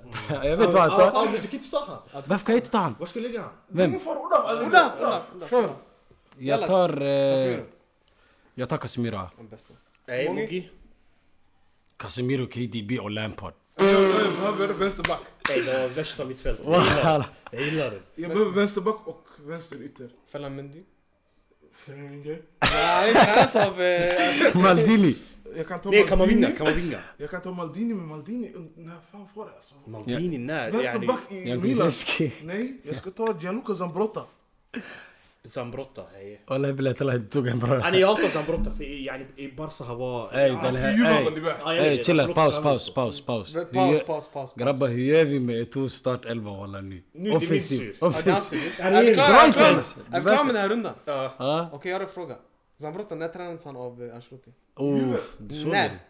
D: Jag vet vad han
C: Ja,
D: tar.
C: ja, men du kan inte ta han.
D: Varför kan jag inte ta han?
C: Var ska jag lägga han?
A: Ingen fara, Olaf, alltså,
B: Olaf,
A: Olaf, Olaf.
B: Olaf.
A: Kör.
B: Olaf.
D: Jag tar... Eh,
B: Casemiro.
D: jag tar Casemiro. ja.
B: Den bästa.
C: Nej
B: Mogi.
C: Mogi.
D: Casemiro, KDB och Lampard.
A: Jag behöver vänsterback.
C: Nej det var värsta mittfältet. Jag gillar
D: Wallah.
C: det. Jag gillar det.
A: Jag behöver vänsterback och vänsterytter.
B: Fela Mendy.
A: Ferengi.
B: Nej, inte ens av... eh,
D: Maldini.
A: Jag kan ta
C: Nej Kamavinga,
A: Maldini.
C: Kamavinga.
A: [laughs] Jag kan ta Maldini, men Maldini, um, när fan får jag alltså?
C: Maldini när? Yani,
A: Vänsterback i Milan.
D: Jankulizinski.
A: Nej, jag ska ta Gianluca Zambrotta.
C: Zambrotta.
D: [laughs]
C: hej.
D: Wallah, billah, talah, du tog en bra.
C: Yani jag hatar Zambrotta för i- yani, i Barca han var...
D: Ey,
A: Ah,
D: den
A: det
D: här...
A: är ju vad
D: Ey,
A: det är.
C: Ja, jag
D: ey,
C: gillar
D: chilla.
C: Zlatan.
D: Paus, paus, paus, paus.
B: Paus,
D: Hur gör-
B: paus, paus, paus.
D: Grabbar, hur gör vi med Etos startelva wallah nu?
C: Nu, det är min tur. Ja,
B: Ja, det är hans
D: Offensiv.
B: tur. Är vi klara-
D: Dra
B: är vi
D: inte
B: klara-
D: ens.
B: är vi klara med den här rundan?
C: Ja.
D: Ja.
B: Okej, jag har en fråga. Zambrotta, när tränades han av eh, Ancelotti?
D: Uff, du såg
B: När?
D: det?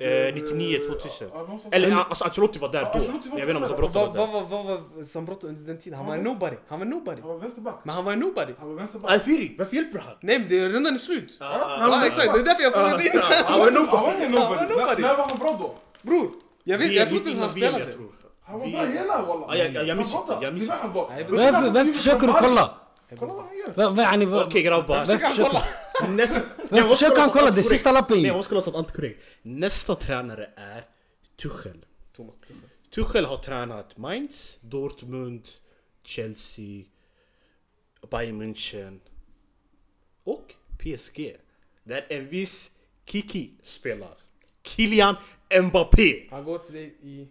C: Eh, 99, 2000.
A: Ja, någonstans
C: Eller
A: där.
C: alltså Ancelotti var där
A: Ja,
C: då.
A: Ancelotti var
C: Jag vet inte om
A: där.
B: Vad
C: Zambrotta var
B: vad-
C: där.
B: vad vad var Zambrotta under den tiden? Han var en
A: Ja, visst.
B: nobody. Han var en nobody.
A: Han var vänsterback.
B: Men han var en nobody.
A: Han var vänsterback.
C: Alfiri, varför hjälper han?
B: Nej, men det, rundan är slut.
C: Ah, ah,
A: han
B: Ja,
A: var
B: exakt. Det är därför jag frågade innan.
A: Han var nobody. Han var ingen
B: Han var
A: nobody.
B: nobody.
A: När- När var han bra då?
B: Bror, jag vet,
C: VM,
B: jag tror inte ens
C: innan
B: han
C: VM,
B: spelade.
C: jag tror.
A: Han var
C: VM.
A: bra hela wallah.
C: Ja, jag- jag- jag missade.
A: Zambrotta,
C: Jag
A: det är
C: missade.
A: där han var.
B: Nej,
A: Det är där
D: Varför,
A: han
D: varför
A: blev
D: försöker du
A: Zambrotta.
D: kolla?
A: Kolla vad han gör.
D: Va- vad är ni- va-
C: Okej grabbar.
D: varför
B: Försök han kolla.
D: försöker
C: Nästa...
D: Men försök han kolla, det är sista lappen.
C: Nej, jag skulle ha satt allt korrekt. Nästa tränare är Tuchel.
B: Thomas.
C: Tuchel har tränat Mainz, Dortmund, Chelsea, Bayern München och PSG. Där en viss Kiki spelar. Kylian Mbappé.
B: Han går till dig i...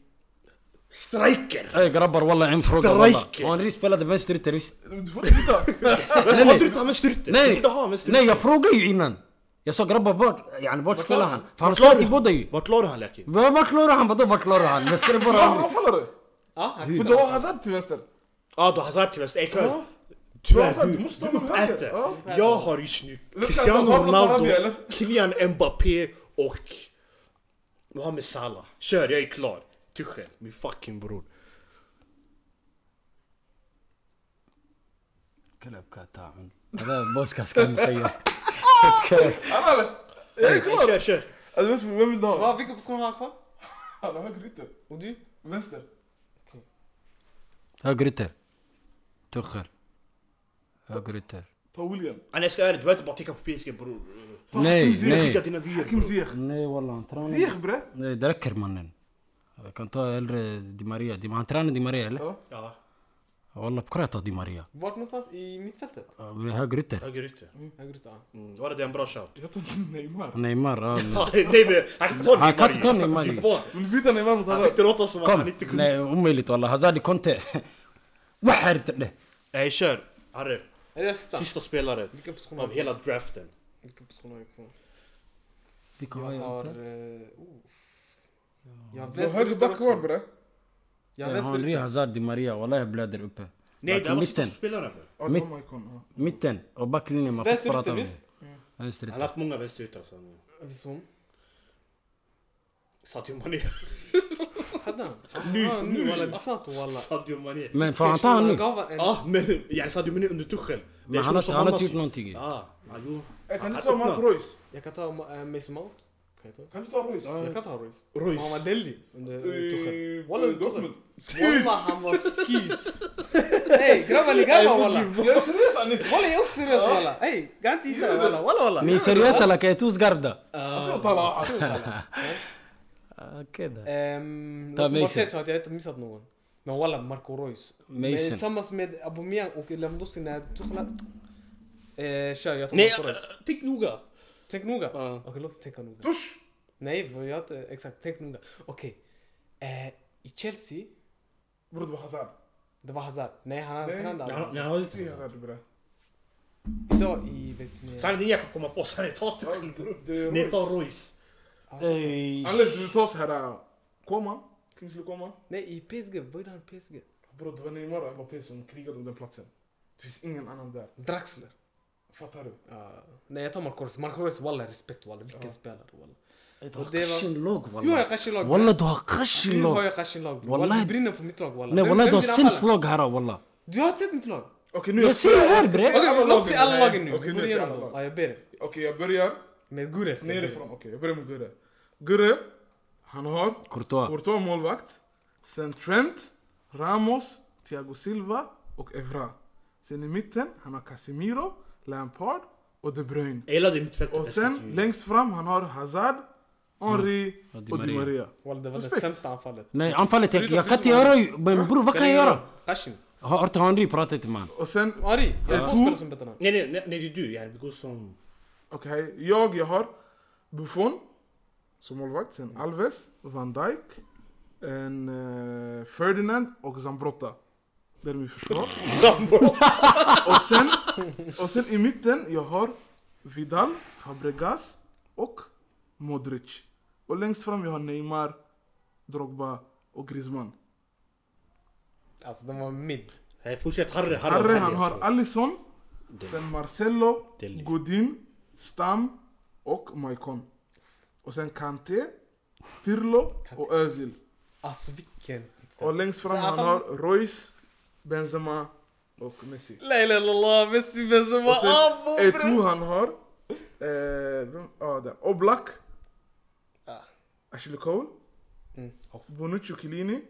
C: Striker!
D: Ey grabbar walla en fråga walla.
C: Striker.
D: Henri spelade vänsterytter visst?
A: Du får inte titta.
C: Men har du inte han med struten? Du
D: Nej!
C: borde ha han med struten.
D: Nej jag frågade ju innan! Jag sa grabbar vart, yani vart spelar han? För han
C: Vart la
D: spelar i
C: du-
D: båda ju!
C: Vart la du han Laki?
D: Va- Vart klarar han? Vadå vart klarar han? Jag skrev bara...
A: Ja, han var anfallare.
B: [laughs] Ja, han
A: För du har Hazard till vänster.
C: Ja, du har Hazard till vänster. Ey Köln.
A: Ja. Ja,
C: Tyvärr,
A: Hazard,
C: du
A: du måste ha någon höger. Ja.
C: uppäter. Jag har just nu
A: kan
C: Cristiano
A: ta Pablo
C: Ronaldo,
A: Sarabia, eller?
C: Kylian Mbappé och Mohamed Salah. Kör, jag är klar. Tuchel, min fucking bror.
D: كلب كاتعمل هذا بودكاست كان مخير بودكاست
A: Alla, إيه،
C: Jag är klar. Kör, kör.
A: Alltså vem vill du ha?
B: Vad, vilken position har han kvar?
A: Han har högerytter.
B: Och du?
A: Vänster.
D: ها جريتر تخر ها جريتر
A: Ta William.
C: Ah, Nej, jag ska vara ärlig. Du behöver inte bara tänka på PSG bror.
A: Ta
D: Nej,
A: Hakim Ziyech.
D: nej.
C: Skicka dina vyer
A: Hakim
C: bror.
A: Ziyech.
D: اي والله تراني
A: Ziyech bre.
D: Nej, det räcker mannen. Jag kan ta äldre Di Maria. Di, han tränar Di Maria eller?
A: Ja.
C: Ja.
D: والله بكره دي ماريا
B: Vart någonstans? I mittfältet?
D: آه، högerytter.
C: Högerytter.
B: Höger ut, ja.
C: Mm. Var det en bra shout? [laughs]
A: Jag tror Neymar.
D: Neymar. آه، ال-
C: Nej men han kan inte ta
D: Han kan inte ta
C: ju.
D: Neymar
C: Typ
D: ju.
C: vad?
A: Vill byta Neymar mot
C: Han
A: Hazard?
C: tyckte det låter som att han
D: Kom.
C: inte kunde...
D: Nej, omöjligt والله. Hazard Conte. وحر det.
C: Nej kör! Harry,
B: Rösta!
C: sista spelaren
B: Vilka positioner har
C: av
B: vi?
C: hela draften.
B: Vilka positioner har vi kvar?
D: Vilka
B: Jag har...
D: har
B: eh, oh. Jag har
A: Du har högerback
B: vänsterytter
A: kvar
B: också.
A: bre.
B: Jag har
D: jag? Henri,
B: vänsterytter.
D: Hazard, Di Maria. Wallah jag blöder uppe.
C: Nej det här var sista
D: mitten.
C: spelaren. bro.
A: Ja, det
D: Mitt-
A: var Maicon. ja.
D: Mitten och backlinjen man får inte prata
B: Vänsterytter
D: om.
B: visst?
C: Han har
D: Vänsterytter.
C: haft många vänsteryttrar. så han-
B: Visum.
C: Sadio Mané.
B: Hade han?
C: Nu,
B: Ah,
C: nu.
B: nu walla, det är sant
C: [laughs]
B: walla.
C: Sadio Mané.
D: Men får han ta han nu?
B: gav han en...
C: Ja men yani Sadio Mané under Tuchel. Det är
D: Men
C: som-
D: han har,
C: som
D: han har
C: annars-
D: inte gjort någonting ju.
C: Ja, ah, jo.
A: Eh, Kan du
C: Han-
A: ta
C: han
A: Mark
C: öppnar.
A: Royce?
B: Jag kan ta eh, Mason Mount. Kan jag ta?
A: Kan du ta Royce?
B: Jag kan ta Royce. Han var
C: Royce.
B: deli under under Tuchel.
A: Eh,
B: Walla,
A: eh,
B: Tuchel.
A: Dortmund.
B: Walla han var skit. Ey grabbar ni garvar walla.
A: Jag är seriös Anik!
B: Walla jag är också seriös walla. Ey kan inte gissa walla walla walla.
D: Ni är seriösa eller kan jag tosgarda?
A: Alltså tala!
D: Keda.
B: Ehm,
D: Ta
B: Låt mig bara
D: Mason.
B: säga så att jag inte missat någon. Men walla Marco Reus. Men
D: Mason.
B: tillsammans med Aubameyang och Lewandowski när Tuchel... Eh, kör jag tar
C: Nej,
B: Marco
C: äh,
B: Reus.
C: tänk noga.
D: äh.
B: Tänk noga.
C: Ja.
B: Okej låt mig tänka noga.
A: Dusch!
B: Nej, vad jag inte, exakt. Tänk noga. Okej. Eh, I Chelsea,
A: Bror det var Hazard.
B: det var Hazard. Nej, han har
A: Nej.
B: inte
C: Nej,
B: andra.
C: han- nej, han har
A: Det är
C: inte...
A: Hazard bre.
B: Idag i, vet ni...
C: Sanningen jag kan komma på, sanningen ta
A: Ja,
C: Tuchel. bro.
A: Det är
C: Nej
A: Royce.
C: ta Royce.
A: Unless du tar så här... eh, Koma. Kingsley Koma.
B: Nej, i PSG. Vad gjorde han i PSG?
A: Bror det var Neymar och Mbappé som krigade om den platsen. Det finns ingen annan där.
B: Draxler.
A: Fattar du?
B: Ja. nej, jag tar Marco Reus. Marco Reus, walla respekt walla. Vilken
A: Ja.
B: spelare walla.
D: Du
B: Och det var-
D: har kashin lag
B: Jo, jag
D: wallah.
B: har kashin lag.
D: Wallah du har kashin
B: Nu har
D: lag.
B: jag kashin lag.
D: Wallah.
B: Walla, du brinner på mitt lag walla.
D: Nej
B: Vem-
D: wallah
B: vem
D: du har
B: dina
D: sämst
B: fall?
D: lag här wallah.
B: Du har sett mitt lag.
A: Okej nu
D: Jag ser det här,
A: ska
D: bre.
A: se alla
B: Okej, låt se alla
A: Nej.
B: lagen nu.
A: Okej
B: Gå
A: nu ser alla
B: igenom dem.
A: lag.
B: Ja, jag ber dig.
A: Okej jag börjar
B: Med Gures. jag ber dig.
A: nerifrån. Okej jag börjar med Gurre. Gurre. Han har
D: Courtois.
A: Courtois målvakt. Sen Trent, Ramos, Thiago Silva och Evra. Sen i mitten, han har Casemiro, Lampard och De Bruyne.
C: Jag gillade mittfältet
A: Och
C: bäst
A: sen
C: ju.
A: längst fram, han har Hazard, Henri
D: Mm. Och Di
A: och Di
D: Maria.
A: Maria.
B: Walla, det var det
A: Respekt.
B: sämsta anfallet.
D: Nej anfallet, jag,
B: Förutom-
D: jag kan inte
B: förutom-
D: göra ju. Men bror vad kan jag göra?
B: Kashin.
D: Har har inte Henri pratat med honom?
A: Och sen,
B: Ari, jag har två
A: Ja.
B: spelare som bättre namn.
C: Nej nej, nej nej det är du yani, vi går som...
A: okej, jag, jag har Buffon som målvakt, sen Alves, Van Dijk, en, eh, Ferdinand och Zambrotta. Det är mitt försvar. [laughs] Och sen, och sen i mitten, jag har Vidal, Fabregas och Modric. Och längst fram jag har Neymar, Drogba och Griezmann.
B: Alltså, de var mid.
C: Nej fortsätt Harry, Harry.
A: Harry
C: Harry,
A: han har
C: jag tar.
A: Alisson, sen Marcelo,
C: Deli.
A: Godin, Stam och Maicon. Och sen Kanté, Pirlo och Özil.
B: Alltså vilken...
A: Och längst fram
B: Så er
A: han
B: han-
A: har Royce, Benzema och Messi.
B: La ilaha illallah, Messi Benzema,
A: Och sen
B: Abo
A: Eto han har. Eh, vem- ja, där. Oblak.
B: Ah.
A: Ashley Cole.
B: Mm. Oh.
A: Bonucci och Chiellini.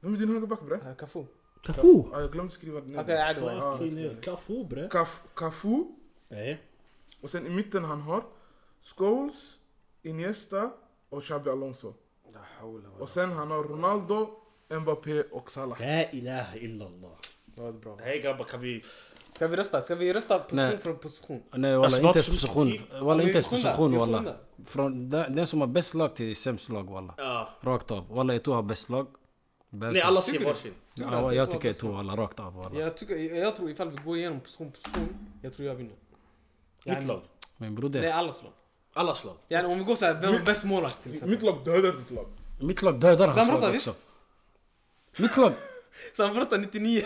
A: Vem är din högerback bre?
B: Ah, Cafu.
C: Kafu!
A: Ah, jag glömde skriva ner.
B: Okej, عادي والله.
A: Fucking
C: Kafu bre.
A: Kaf, Cafu.
C: Nej.
A: Och sen i mitten han har Scholes, Iniesta och Xabi Alonso. Och sen han har Ronaldo, Mbappé och Salah.
C: La ilaha illallah.
B: Det var bra.
C: Hej grabbar kan vi...
B: Ska vi rösta? Ska vi rösta position
D: Nej.
B: för position?
D: Nej wallah
C: Alltså,
D: inte e ens
C: vad-
D: position.
B: Ja,
D: Wallah inte e ens
B: vi är sjunda.
D: position
B: Vi är
D: wallah.
B: sjunda.
D: Från den den som har bäst lag till sämst lag wallah.
C: Ja.
D: Rakt av. Wallah Eto'o har bäst lag. Bäst-
C: Nej alla ser
B: Tycker du?
C: varsin.
B: Tycker
D: Ja,
B: du att
D: jag
B: Eto'o
D: tycker
B: har bäst
D: Eto'o wallah rakt av wallah.
B: Jag, tycker, jag, jag tror ifall vi går igenom position position, jag tror jag vinner.
C: Mitt lag.
D: Men
B: Nej,
D: broder.
B: allas lag.
C: Allas lag.
B: Yani, om vi går såhär, vem är bäst målvakt till
A: Mitt
B: exempel?
A: lag dödar ditt lag.
D: Mitt lag dödar hans
B: Zamrota,
D: lag
B: visst?
D: också. Mitt lag.
B: Zambrata 99.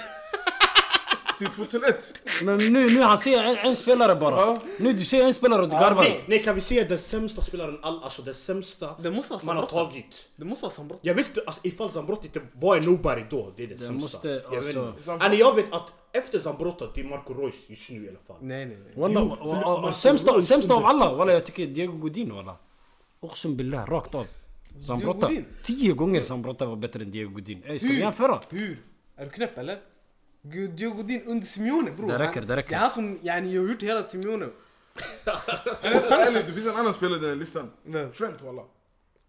A: Till 2001.
D: Men nu, nu han ser en, en e, spelare bara.
A: Ja.
D: Nu du ser en e spelare och du garvar.
C: Nej, nej kan vi se den sämsta spelaren all, alltså den sämsta
B: Det måste vara
C: man har
B: Zambrata.
C: tagit.
B: Det måste vara Zambrata.
C: Jag vet inte alltså, ifall Zambrotta inte var en nobody då, det är det, sämsta.
D: måste,
C: jag, vet
D: alltså-
C: inte. Alltså, jag vet att efter Zambrotta, det är Marco Reus just nu i alla fall.
B: Nej, nej, nej.
D: Walla,
C: Jo,
D: och-
C: för-
D: och-
C: Marco
D: och sämsta,
C: Reus
D: sämsta av
C: under-
D: alla. Walla jag tycker Diego Godin walla. Oqsum billah rakt av. Zambrotta.
B: Godin?
D: Tio gånger Zambrotta var bättre än Diego Godin. Ey ska vi
B: Hur?
D: jämföra?
B: Hur? Är du knäpp eller? Gud, Diogo Din under Simeone bror.
D: Det räcker, det räcker.
B: Det är han som yani, jag har gjort hela Simeone.
A: Ärligt, det finns en annan spelare i den här listan.
B: Men,
A: Trent walla.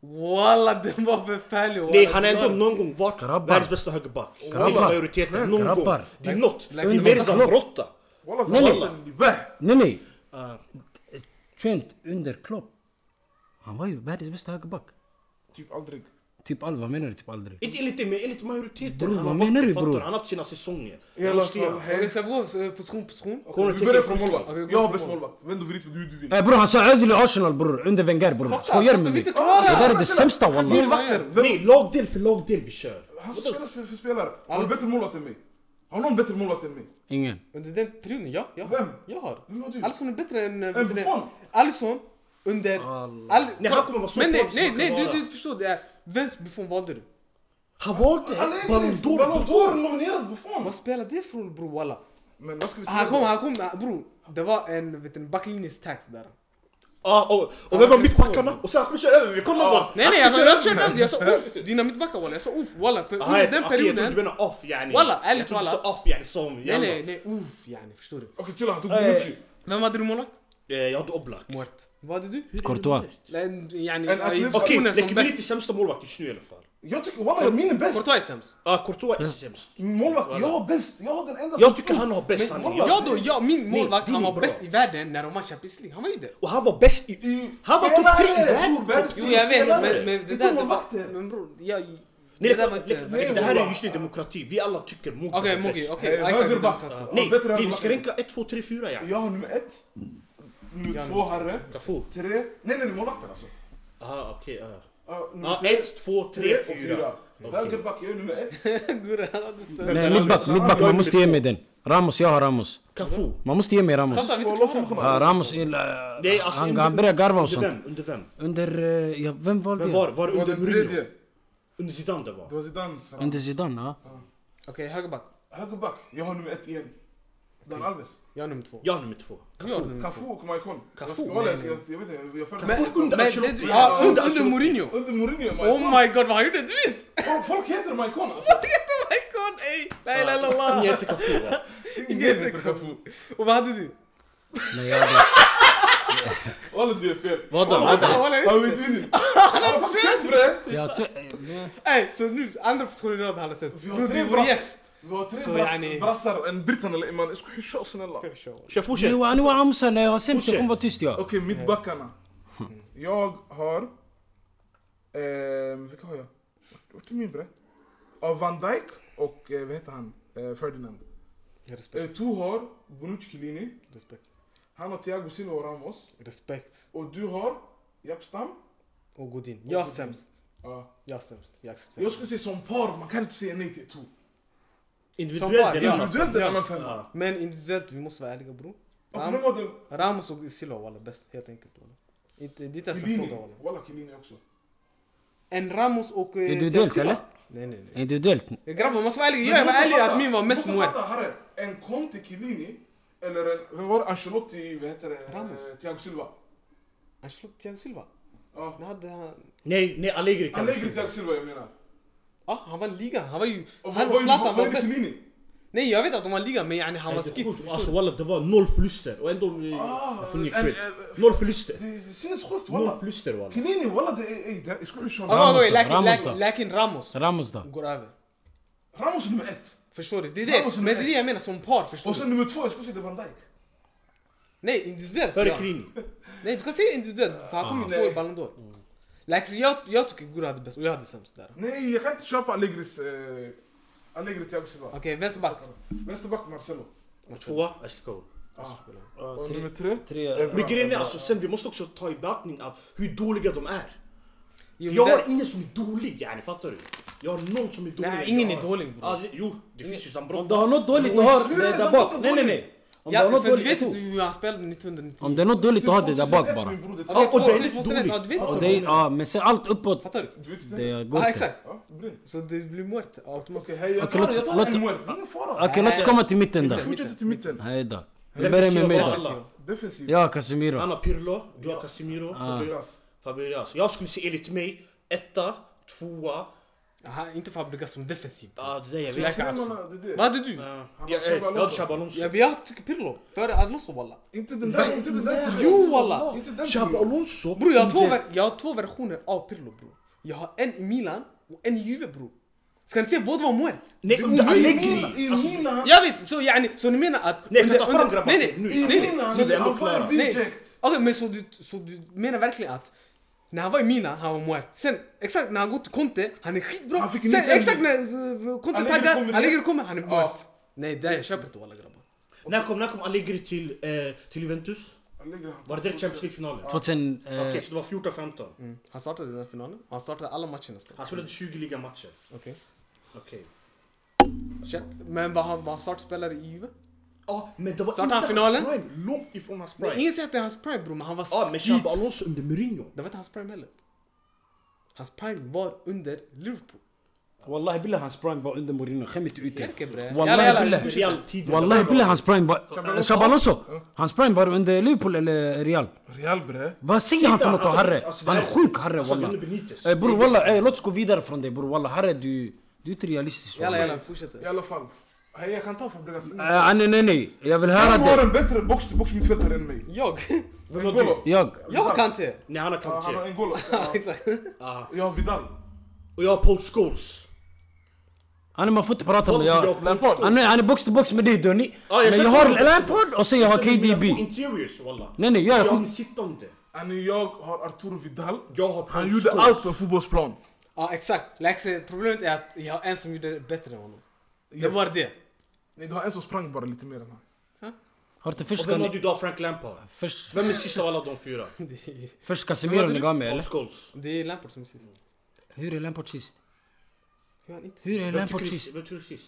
B: Walla den var förfärlig! walla.
C: Nej, han har ändå
B: Det var-
C: någon gång varit
D: Grabbar.
C: världens bästa högerback.
D: Grabbar.
C: Grabbar. majoriteten, någon
D: Grabbar.
C: gång. Det är något. Det
B: Like-
C: är mer Zambrotta.
A: Walla
D: Nej, nej.
A: Zlatan, bäh!
D: Nej, nej.
C: Ah.
D: Trent under Klopp. Han var ju världens bästa högerback.
A: Typ aldrig.
D: Typ all, vad menar du typ aldrig?
C: Inte enligt dig, men enligt majoriteten.
D: Bror,
C: han har
D: vad
C: varit-
D: menar du,
C: fattar
D: bror?
C: Han har haft sina säsonger.
A: I alla fall,
B: Okej,
A: hej.
B: ska vi gå eh, position, position?
C: Kommer
A: Vi börjar
C: tänka
A: från målvakt.
B: Okej, vi går
A: Jag har
B: från
A: bäst
B: målvakt.
A: målvakt. Vänd och vrid på hur du vill.
D: Nej bror han sa Özil i Arsenal bror, under Wenger bror.
B: Softa,
D: Skojar du
B: softa,
D: med
B: vi
D: mig?
B: inte
D: Det
B: klara!
D: där är det sämsta
A: Fyra
D: wallah.
A: vakter! Vem-
C: Nej, lagdel för lagdel vi kör.
A: Han som spelar för för spelare. Har du bättre målvakt än mig? Har någon bättre målvakt än mig?
D: Ingen.
B: Under den trion, ja. Jag har.
A: Vem?
B: Jag har.
A: Vem har du?
B: Alisson är bättre än... eh,
A: Än
B: bättre-
A: Buffon?
B: Alisson under... Al...
C: Nej, han kommer vara så
B: Men nej,
C: bra som
B: nej,
C: han
B: nej,
C: kan
B: du,
C: vara.
B: du förstår. Det är... Vems Buffon valde du?
C: Han valde
A: Allegri!
C: Ballon
A: Ballon
C: d'Or.
A: d'Or nominerad Buffon!
B: Vad spelar det för roll bror walla?
A: Men vad ska vi säga?
B: Han kom, han kom, eh, bror. Det var en, vet du, en backlinjestax där.
C: Ah, och, och vem var mittbackarna? Och sen han kommer köra över mig. Kolla bara.
B: Nej nej, alltså, jag körde över Jag sa uff, dina mittbackar walla. Jag sa uff walla. För
C: Ah,
B: under
C: jag-
B: den
C: okej, jag trodde du
B: perioden...
C: menade off yani.
B: Walla, ärligt,
C: Jag trodde du
B: walla.
C: sa off yani som
B: Nej
C: jalla.
B: nej, nej, uff yani. şey Förstår du?
A: Okej chilla, han tog Bonucci.
B: Vem hade du målvakt?
C: Eh, Jag hade Oblak.
B: Muert. Vad hade du?
D: Courtois.
B: Nej, Yani,
A: En atlet-
B: eh,
C: Okej,
B: Onen som
C: Lekibili är
B: bäst.
C: inte sämsta målvakt just nu i alla fall.
A: Jag tycker walla min är bäst.
B: Courtois är sämst.
C: Ah, Courtois är sämst.
A: Målvakt,
C: Walla.
A: jag har bäst. Jag har den enda
C: Jag tycker han har bäst
A: Men
C: sanning.
A: walla.
B: Ja då, ja, min
C: Nej,
B: målvakt
C: det är
B: han
C: nog
B: var
C: bra.
B: bäst i världen när de vann Champions League. Han var ju det.
C: Och han var bäst i... Han var topp tre i världen!
A: världens
B: Jo jag vet, men,
A: spelare.
B: men det
A: Inte
B: där det var...
A: målvakter.
B: Men bror, jag...
C: Nej,
B: Det där var inte...
C: nej, det här är just nu demokrati, vi alla tycker Mugi
B: Okej,
C: är
B: Mogi,
C: bäst.
B: okej.
A: Eh,
B: Exakt, det
A: högerback.
B: där.
C: Nej,
A: Bättre
C: nej, vi
A: högerback.
C: ska ranka 1, 2, 3, 4 ja.
A: Jag har nummer ett. Nummer
B: Ja,
A: två herre.
C: Kafu.
A: Tre. Nej nej, nej målvakter alltså.
C: Aha, okej. ja.
A: Ja,
B: Ah,
A: nummer
C: Ja,
A: tre,
C: 1, 2, 3, 4.
A: Högerback, jag är nummer
B: [laughs]
A: ett.
B: Bror, han hade så-
D: Nej mittback, mittback man måste ge mig den. Ramos, jag har Ramos.
C: Kafu.
D: Man måste ge mig Ramos.
B: Satan, vi är
A: Kolla
B: inte klara.
A: från-
D: Ja, Ramos, eh,
C: Nej, alltså,
D: han,
C: under-
D: han börjar garva och
C: Under
D: sånt.
C: vem? Under vem?
D: Under, eh, ja, vem valde
C: Vem
D: jag?
C: var, var det
A: Det var
C: under
A: den
C: Mourinho?
A: tredje.
C: Under Zidane det var.
A: Det var Zidanes.
D: Under Zidane, ja.
B: Okej, högerback.
A: Högerback, jag har nummer ett igen. Dan Alves.
B: Jag är nummer två.
C: Jag har nummer två.
B: Du har nummer
A: Cafu
B: två.
A: och Maikon.
C: Cafu?
A: Jag ska vara ärlig, jag- jag vet inte, jag följer
C: Cafu under
B: Men det,
C: Ancelotti.
B: ja, under, under
C: Ancelotti.
B: Mourinho.
A: Under Mourinho, Oh,
B: Oh
A: Maikon.
B: my god vad han gjorde, du visst!
A: Folk- Folk heter Maikon alltså.
B: Oh my god, ey! La ilaha
C: Ah, Ingen
B: [laughs] illallah!
C: heter Kafu va?
A: Ingen heter Cafu.
B: Och vad hade du?
D: Nej, jag hade...
A: Alla du är fel.
C: Vad då? Vad då?
B: Walla,
A: Han
B: just
A: vet inte. Han har fått rätt bre.
D: Jag tror-
B: det. Ey, så nu, andra positionen i rad han har sett.
A: Vi har
B: Bror, du
A: tre
B: är vår
A: brass.
B: gäst.
A: Vi har tre
B: Så
A: brass-
B: yani-
A: brassar, en britten eller en man. Jag skulle köra snälla.
B: Ska vi köra?
C: Kör, fortsätt.
D: Jo, han var Amsa när jag var sämst, jag kommer vara tyst jag.
A: Okej, mittbackarna. Jag har... Ehm, vilka har jag? Vart- Vart är min bre? Av Van Dijk och, eh, vad heter han? Eh, Ferdinand. Eh,
B: Respekt,
A: Du har Bonucci Chiellini.
B: respekt,
A: Han har Thiago Silva och Ramos.
B: respekt.
A: Och du har Japstam.
B: Och Godin. Jag är sämst.
A: Ja.
B: Jag är sämst. Jag accepterar.
A: Jag skulle säga som par, man kan inte säga nej till två.
B: Som
C: Individuellt
B: var,
C: är det
B: ja.
C: en annan
A: Individuellt är en
B: ja.
A: annan femma.
B: Men individuellt, vi måste vara ärliga bror.
A: Och
B: Ram-
A: Vem var det?
B: Ramos och Silva walla, bäst helt enkelt walla. Inte, det er är inte ens en fråga
A: Chiellini.
B: walla.
A: Walla Chiellini också.
B: En Ramos och... eh,
D: Individuellt,
B: Thiago Silva.
D: er eller?
B: Nej nej nej.
D: Individuellt.
B: Grabbar, måste vara ärliga.
A: Men du
B: Jag var
A: måste
B: ärlig
A: fatta-
B: att min var
A: du
B: mest
A: måste
B: Moet.
A: fatta, herre, En Conte Chiellini, eller en, vem var det? Ancelotti, vad heter det?
B: Ramos.
A: Eh, Thiago Silva.
B: Ancelotti, Thiago Silva.
A: Ja.
B: Nu hade han...
C: Nej, nej Allegri kan
A: Allegri
C: det.
A: Thiago Silva jag menar.
B: Ja, han vann ligan. Han var ju...
A: Och
B: Han
A: vad-
B: och
A: vad-
B: Zlatan
A: vad
B: var
A: är er det
B: bäst.
A: Chiellini?
B: Nej, jag vet att de vann ligan, men yani,
A: er
B: han var skit.
C: Alltså walla det var noll förluster och ändå... eh, Jag får ingen
A: Ah, en-
C: skit.
A: en-
C: Noll förluster.
A: Det är sinnessjukt
C: Noll
A: walla.
C: förluster walla.
A: Chiellini walla det är, ey, det- jag skulle köra
B: Okej,
A: Ramos.
D: Ramos
B: okej,
D: då,
B: lakin-
D: Ramos
B: lakin-
D: då.
B: Lakin Ramos
D: Ramos då?
B: går över.
A: Ramos nummer ett.
B: Förstår du? Det är det.
A: Ramos är
B: Men det är
A: nummer
B: det jag menar, som par förstår
A: Och sen
B: du.
A: nummer två, jag skulle säga det är Van Dijk.
B: Nej, individuellt.
C: Före
B: ja.
C: Krini.
B: Nej, du kan säga individuellt, för han kommer ju få
A: Nej.
B: i Ballon d'Or. Like, jag, jag tycker Gura hade bäst och jag hade sämst där. Okej,
A: Nej, jag kan inte köpa Allegris... Eh, Allegri Thiago Silva.
B: vänsterback.
A: Vänsterback Marcelo.
C: Tvåa, Ashley Cole.
A: Ja. Och nummer tre?
D: Tre-
A: Evra.
C: Men grejen är alltså, sen vi måste också ta i beaktning att hur dåliga de är.
B: Jo,
C: jag
B: men
C: har
B: där-
C: ingen som är dålig yani, fattar du? Jag har någon som är dålig.
B: Nej, ingen
C: Jag
B: är
C: har-
B: dålig, bror.
C: Ja, det, jo, det finns ju
D: Om du
C: Zambrotta.
D: har något dåligt du har,
A: hur är
D: det
A: det
D: där
A: som
D: bak.
A: något
D: Nej, nej,
A: dåligt?
D: nej. Om du har
B: Ja,
D: något
B: för du
D: dåligt,
B: vet
D: du
B: inte hur han spelade 1990.
D: Om det är något dåligt, du har det där bak
A: 2001,
D: bara.
A: min bror, det är
B: Okej,
C: Ja, och det
B: två-
C: är inte
B: 2001, Ja,
C: dåligt.
B: du vet
D: Och
B: inte.
D: det är, ja, men sen allt uppåt,
B: Fattar du?
A: Du vet inte det?
D: det går
B: Ja,
D: inte.
B: exakt.
A: Ja, brin.
B: Så det blir Muerte automatiskt.
A: Okej, hej, jag
D: Okej,
A: tar,
D: låt-
A: jag tar
D: låt-
A: en Muert. Ingen fara.
D: Okej, låt oss komma till mitten då.
A: Fortsätter till mitten.
D: Nej då. Vi
C: Defensiva
D: börjar med mig
C: val,
D: då.
C: alla.
A: Defensiv.
D: Ja, Casemiro.
C: Han har Pirlo, du har Casemiro,
A: Fabregas.
C: Fabregas. Jag skulle se enligt mig, etta, tvåa,
B: Han, inte Fabregas som defensiv.
C: Ja, det är det jag
B: Så
A: Nej,
C: vet.
B: jag-
A: nej, nej, det är
B: Vad
A: det.
B: hade du?
C: Ja.
A: Han
C: Jag
A: har
C: eh,
A: Xabi
C: jag
A: Alonso.
C: hade Xabi Alonso.
B: Ja, men jag tycker Pirlo. Före Alonso walla.
A: Inte den där, inte den där.
B: Jo walla!
A: Inte den.
C: Xabi Alonso?
B: Bror jag har, två
C: Inte-
B: ver- jag har två versioner av Pirlo bror. Jag har en i Milan och en i Juve bror. Ska ni se båda var muert?
C: Nej, under
A: I
C: Allegri! Alltså,
A: Milan.
B: Jag vet, så yani, så ni menar att...
C: Nej,
B: under-
C: ta fram
B: under-
C: grabbar.
B: Nej nej,
C: Nu.
A: I
B: nej nej.
A: Milan.
C: så det är ändå
A: Han var
C: klara.
A: en reject.
B: Okej men så du, så du menar verkligen att när han var i Milan, han var muert. Sen exakt när han går till Conte, han är skitbra.
A: Han fick en
B: Sen
A: ny
B: exakt när eh, Conte
A: Allegri kommer
B: taggar,
A: igen.
B: Allegri kommer, han är
A: Ja.
B: muert. Nej det här, jag köper inte walla grabbar.
C: När kom, när kom Allegri till, eh, till Juventus?
A: Allegri, han-
C: Var det direkt Champions League-finalen?
D: 2000...
C: Okej,
D: Eh,
C: så det var 14-15.
B: Mm. Han startade den här finalen, han startade alla matcher nästan.
C: Han spelade 20 ligamatcher.
B: Okej.
C: Okej.
B: Check. Men var han, var han startspelare i Juve?
C: Ja, men det var
B: Startade han
C: hans
B: finalen?
C: prime. Långt ifrån hans
B: Men
C: prime.
B: ingen säger att det är hans prime bror, men han var
C: Ja, men
B: skit.
C: Xabi Alonso under Mourinho.
B: Det var inte hans prime heller. Hans prime var under Liverpool.
D: والله بالله هانس برايم var under Mourinho skämt ut er.
B: Järke bre.
D: Wallahi
B: Jalla, jalla.
D: billah.
C: Real tidigare.
D: والله بالله هانس برايم var...
A: Alonso.
D: شاب الونسو هانس برايم var under Liverpool eller Real.
A: Real bre.
D: Vad säger han för något
C: Alltså,
D: Harre?
C: alltså, det
D: Han är
C: här-
D: sjuk Harre
C: Alltså,
D: wallah.
C: under Benitez.
D: Eh, Bror wallah, eh, låt oss gå vidare från dig bror wallah. Harre du... Du är inte realistisk.
B: Jalla
D: wallah.
B: jalla,
A: I
B: fortsätter.
A: alla fall. Hej, jag kan ta Fabregas.
D: Eh, nej, nej, nej. Jag vill höra
A: Han har
D: dig.
A: en bättre box till box mittfältare än mig.
B: Jag?
C: Vem har du?
D: Jag.
B: Jag kan inte!
C: Nej, han har
A: Ja, Han har
C: Kanté.
A: en gol.
B: Ja, [laughs] Exakt.
A: Jag har Vidal.
C: Och jag har Paul Scholes.
D: Han man får inte prata med...
C: Kolla, jag
D: Jag,
C: har
A: Lampard.
D: han, är, han är box to box med dig Donny.
C: Ja, jag
D: men jag
C: köpte
D: har
C: honom.
D: Lampard och sen jag har
C: Sen mina två
D: KDB.
C: Interiors wallah.
D: Nej, nej, jag-
C: Så Jag vill sitta om det.
A: Han är jag har Arturo Vidal.
C: Jag har Paul
A: Han gjorde
C: Scholes.
A: allt på en fotbollsplan.
B: Ja exakt. Läxel, problemet är att jag har en som gjorde det bättre än honom. Det
A: Yes.
B: var det. [laughs]
A: Nej, det var en som sprang bara lite mer än han.
D: Har du
C: Och
D: först,
C: vem har du då? Frank Lampard.
D: först,
C: Vem är sist av alla de fyra?
B: Det är-
D: först Casemiro ni gav mig
C: Paul
D: eller?
C: Scholes.
B: Det är Lampard som är sist.
D: Hur är Lampard sist?
B: Hur är han inte?
D: Hur är
C: Vem
D: Lampard
C: tycker
D: sist?
C: du- vem tycker du är sist?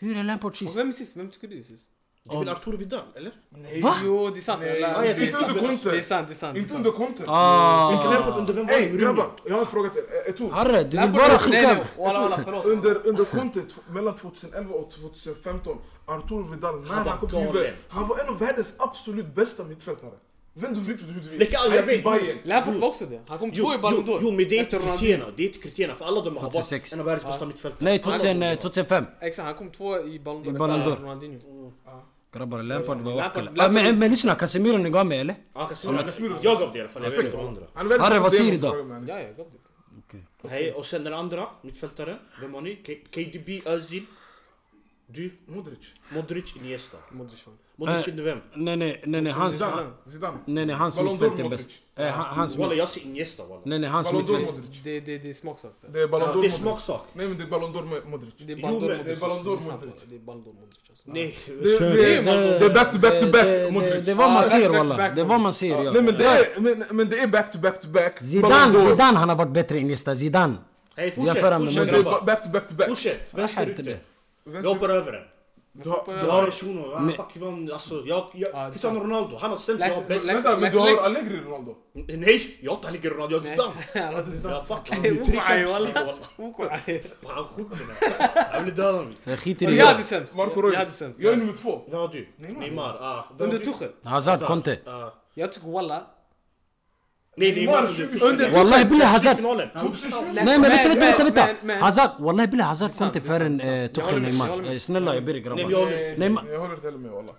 D: Hur är Lampard
B: Och
D: sist?
B: vem är sist? Vem tycker du är sist?
C: Du vill Arturo Vidal, eller?
A: Nej.
D: Va?
B: Jo det är sant.
A: Nej,
B: jalla.
A: jag
B: Det är
C: tyckte
B: sant.
A: under Conte.
B: Det är sant, det är sant. det är
A: Inte
B: sant.
A: under Conte.
C: Vilken
D: Ah.
C: Lampard under vem var det?
A: Ey grabbar,
C: Mourinho?
A: jag har en fråga till Eh, er. Eto.
D: Harre, du vill
B: Lampard-
D: bara
B: Nej, nej,
D: skicka...
B: Walla walla förlåt.
A: Under, under Conte t- mellan 2011 och 2015, Arturo Vidal, när
C: Han
A: han,
C: var
A: kom till Juve,
C: galen.
A: han var en av världens absolut bästa mittfältare. Vänd och vrid på det hur du vill.
C: Lägg all- jag
A: Han gick till
C: vet.
A: Bayern.
B: Lampard var också det. Han kom två i Ballon d'Or.
C: jo, men det är inte
B: Efter Ronaldinho.
C: kriterierna. Det är inte kriterierna. För alla de har varit
D: 2006.
C: en av världens bästa mittfältare.
D: Nej, 2000, eh, 2005.
B: Exakt, han kom två i Ballon d'Or
D: I Ballon
B: efter
D: d'Or.
B: Ronaldinho.
D: Grabbar, Lampard var
B: Lampard-
D: wackla. Ah,
B: Lampard-
D: Men men lyssna, Casemiro ni gav mig eller?
C: Ja, Casemiro.
A: Casemiro.
C: Jag gav det i alla fall. Jag vet inte de andra.
A: Han är världens
D: Harry, vad
A: bästa
D: säger du
A: DM,
D: då?
A: frågar man.
B: Ja, jag gav det.
C: Hej, och sen den andra mittfältaren. Vem har ni? K- KDB, Özil. Du,
A: Modric.
C: Modric, Iniesta.
B: Modric fan.
C: Modric
D: Eh.
C: under vem?
D: Nej, nej, nej, nej, hans...
A: Zidane. Zidane.
D: Nej, nej, hans
A: Ballon d'Or
D: mittfält är
A: Modric.
D: bäst. Eh, han- Hans
C: Walla,
D: mitt-
C: jag ser Iniesta walla.
D: Nej, nej, hans
A: Ballon d'Or
D: mittfält.
A: Modric.
B: Det, det, det är smaksak. det.
A: Det är Ballon
C: Ja,
A: d'Or
C: Det är
A: Modric.
C: smaksak.
A: Nej men det är Ballon d'Or Mo- Modric.
B: Det är
C: Jo,
B: Ballon
C: men
B: d'Or
C: det
A: är Ballon d'Or
B: Det är sant,
A: Modric.
B: Det är Ballon d'Or Modric. Alltså.
C: Nej.
A: Det, det,
D: det-
A: det är back to back to
D: Det-
A: back
D: det-
A: Modric. Ah,
D: Det var man
B: Ja,
D: ser
B: back- back-
D: walla.
B: back-
D: Det var man ser
A: Nej
D: ja.
A: men det är, men, men det är E back to back to back. Ballon
D: Zidane,
A: d'Or.
D: Zidane han har varit bättre än Iniesta. Zidane.
C: Hej,
D: Jag
C: fortsätt.
D: för honom
A: Men
C: Fortsätt
A: det är ba-
C: grabbar.
A: back to back to back.
C: Fortsätt.
D: Jag
C: Vänster
D: skämtar
C: ute.
D: dig.
C: Jag hoppar över den.
A: Du har-
C: Jag har en shuno. Ah,
D: Men-
C: Fuck, Ivan. Alltså, jag...
B: Ja,
C: jag-
D: Ah,
B: det
C: Cristiano Ronaldo. Han har sämst, jag har
B: Läs-
C: bäst.
B: läs-
A: Vänta, men
B: Max
A: du har
B: Leck-
A: Allegri Ronaldo?
C: Nej, jag tar ligger Ronaldo. Jag är
B: [laughs]
C: Zidane.
B: Zidane.
C: Ja, fuck. Han
B: Nej, [laughs]
C: är tre
B: walla.
C: Champions League walla.
B: Okej.
C: Han skjuter mig. Han vill döda mig.
D: Jag skiter i
B: Jag hade
D: det.
B: sämst.
A: Marco
B: Jag hade
A: Reus.
B: sämst.
A: Jag är nummer två.
C: Vem har du? Neymar. Ah, vem
B: Under
C: har du?
B: Tuchel.
D: Hazard, Conte.
C: Ah.
B: Jag tycker walla.
C: Nej,
A: Neymar
C: Neymar under
A: 2020.
C: under
D: Wallahi billah Hazard.
C: finalen. Han-
A: 2020.
D: Nej men vänta, vänta, vänta,
B: Men- men-
D: vänta. Hazard, wallahi billah Hazard
B: sant,
D: Conte
B: det är
D: före
B: sant,
D: en, eh,
B: Jag håller
D: Tuchel
B: med, jag håller
D: Neymar.
B: med.
D: Eh, Snälla jag ber er
C: Nej, men
D: grabbar.
C: jag håller
A: Nej,
C: inte.
D: Nej, ma-
A: Jag håller till med walla.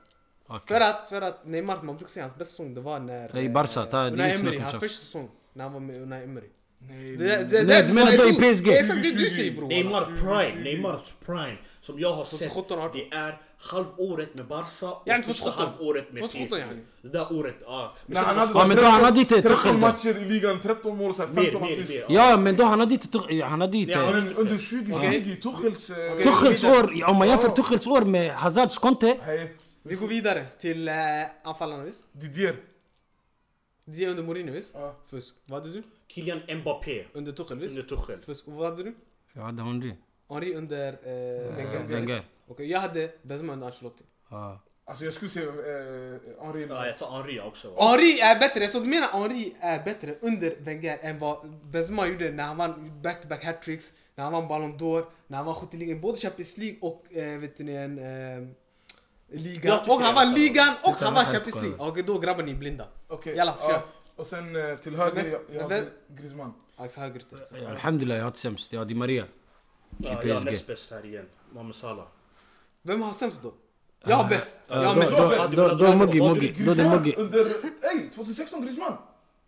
B: För att, för att Neymar, man brukar säga hans bästa säsong det var när...
D: I
B: eh,
D: Barca, ta- det är
B: Unai
D: inget snack
B: Emery,
D: om
B: hans
D: sak.
B: första säsong. När han var med Unai Emery.
A: Nej,
B: Det-
A: nej.
B: det-
D: Nej, du menar
B: det-
D: då i PSG?
B: Exakt det du säger bror. walla.
C: Neymar prime, Neymar prime. Som jag har sett,
B: 2017, 18.
C: det är halvåret med Barca och
B: Yani
C: första
B: 2017.
C: halvåret med
B: 2017,
C: PSG.
B: yani.
C: Det där året, ja.
A: Nej, han hade
D: Ja, men då han hade inte Tuchel
A: 13
D: då.
A: matcher i ligan, 13 mål, så här
C: Mer,
A: 15
C: mer,
A: assist.
C: mer.
D: Ja men då han hade inte Tuchel, han hade
C: Ja,
D: inte...
C: men-
A: Men under 2020, Tuchels... eh,
D: Tuchels år, ja, om man jämför Tuchels år med Hazards Conte.
A: Hej,
B: Vi går vidare till eh, anfallarna visst?
A: Didier.
B: Det är under Mourinho visst?
A: Ja.
B: Fusk. Vad hade du?
C: Kylian Mbappé
B: Under Tuchel visst?
C: under Tuchel.
B: Fusk. Och vad hade du?
D: Jag hade Henry.
B: Henri under eh, Wenger.
D: Wenger.
B: Okej, jag hade Benzema under Ancelotti.
D: Ja.
A: Alltså jag skulle säga eh, Henri.
C: Ja, jag tar Henry också. va.
B: Henri är bättre, så du menar Henri är bättre under Wenger än vad Benzema gjorde när han vann back-to-back hattricks, när han vann Ballon d'Or, när han vann skytteligan, både Champions League och eh, vet ni en... Eh,
C: Jag
B: ligan.
C: tycker
B: Och han
C: jag
B: vann
C: kan-
B: ligan och
D: tycker
B: han
D: jag
B: vann
D: kan-
B: Champions League. Okej, då grabbar ni är blinda.
A: Okej.
B: Jalla,
A: ja.
B: kör.
A: Och sen eh, till höger,
B: näst-
A: jag, jag
B: vä-
A: hade Griezmann.
B: Axel Höger.
D: آه، Alhamdulillah jag hade sämst, jag hade Maria. i
C: Ja, jag är
D: PSG.
C: näst bäst här igen. Mohamed Salah.
B: Vem har sämst då? Jag har bäst.
D: Eh,
B: Jag har
D: då-
B: mest.
D: då- då- då är Moggi, Moggi, då är det Moggi.
A: Under... Ey! 2016 Griezmann!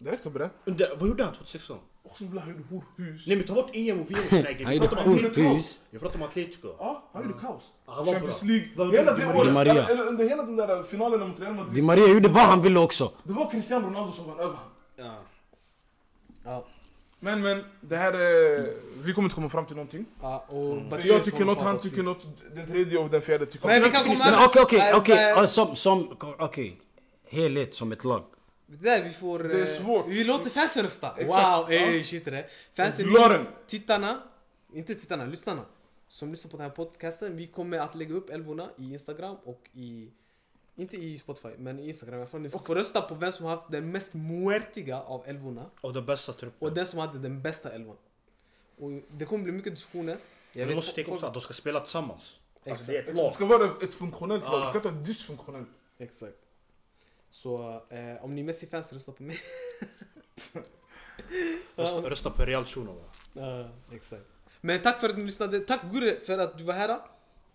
A: Det räcker bre.
C: Under, vad gjorde han 2016?
A: Och så blev han gjorde horhus.
C: Nej men ta bort EM och VM och såna här grejer.
D: Han
C: Vi
D: gjorde
C: pratar om Atletico.
D: sjukhus.
C: Vi pratar om Atletico.
A: Ja, han gjorde kaos.
C: Ja, han var
A: Champions
C: bra.
A: League.
C: Vad-
A: Hela
C: Di
A: det
C: Maria.
A: året.
D: Di Maria.
A: Eller under hela den där finalen mot Real
D: Di
A: Madrid.
D: Maria gjorde vad han ville också.
A: Det var Cristiano Ronaldo som vann över honom.
C: Ja.
B: Ja,
A: Men men, det här är... Vi kommer inte komma fram till någonting.
B: ja, och
A: För
D: Mm.
B: Batistuta
A: jag tycker
B: håller
A: något,
B: på
A: han
B: att ta
A: tycker
B: slut.
A: något, den tredje och den fjärde tycker
B: Men vi
A: något.
B: kan komma
D: Men
B: över.
D: okej, okej,
B: Där-
D: okej.
B: där-
D: Ja, Som, som, okej. Helhet som ett lag.
B: Det där vi får...
A: Det är
B: eh,
A: svårt.
B: Vi låter fansen rösta.
A: Exakt,
B: wow,
A: ja.
B: ey shit det. där. Fansen,
A: Och blåren.
B: tittarna, inte tittarna, lyssnarna. Som lyssnar på den här podcasten. Vi kommer att lägga upp älvorna i Instagram och i... Inte i Spotify, men i Instagram i alla fall. Ni ska få rösta på vem som har haft den mest muertiga av älvorna.
C: Och den bästa truppen.
B: Och den som hade den bästa älvan. Och det kommer bli mycket diskussioner. Jag
C: Men du måste
B: folk-
C: tänka också att de ska spela tillsammans.
B: Exakt.
C: Alltså det är ett
A: Det
C: lag.
A: ska vara ett funktionellt lag, det
C: Ja.
A: kan inte vara dysfunktionellt.
B: Exakt. Så eh, om ni är Messi-fans, rösta på mig.
C: Rösta, rösta på Real Shuno va?
B: Ja, [laughs] exakt. Men tack för att ni lyssnade. Tack Gurre för att du var här och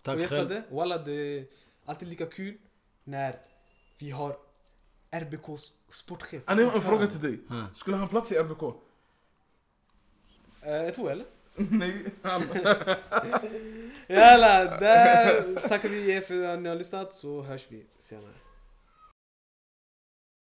D: Tack själv.
B: gästade. Walla, det är alltid lika kul när vi har RBKs sportchef.
A: Ah, nej, Jag har en fråga till dig.
D: Ja.
A: Skulle han plats i RBK?
B: Eh, jag tror eller?
A: Nej, han...
B: Jalla, där tackar vi er för att ni har lyssnat så hörs vi senare.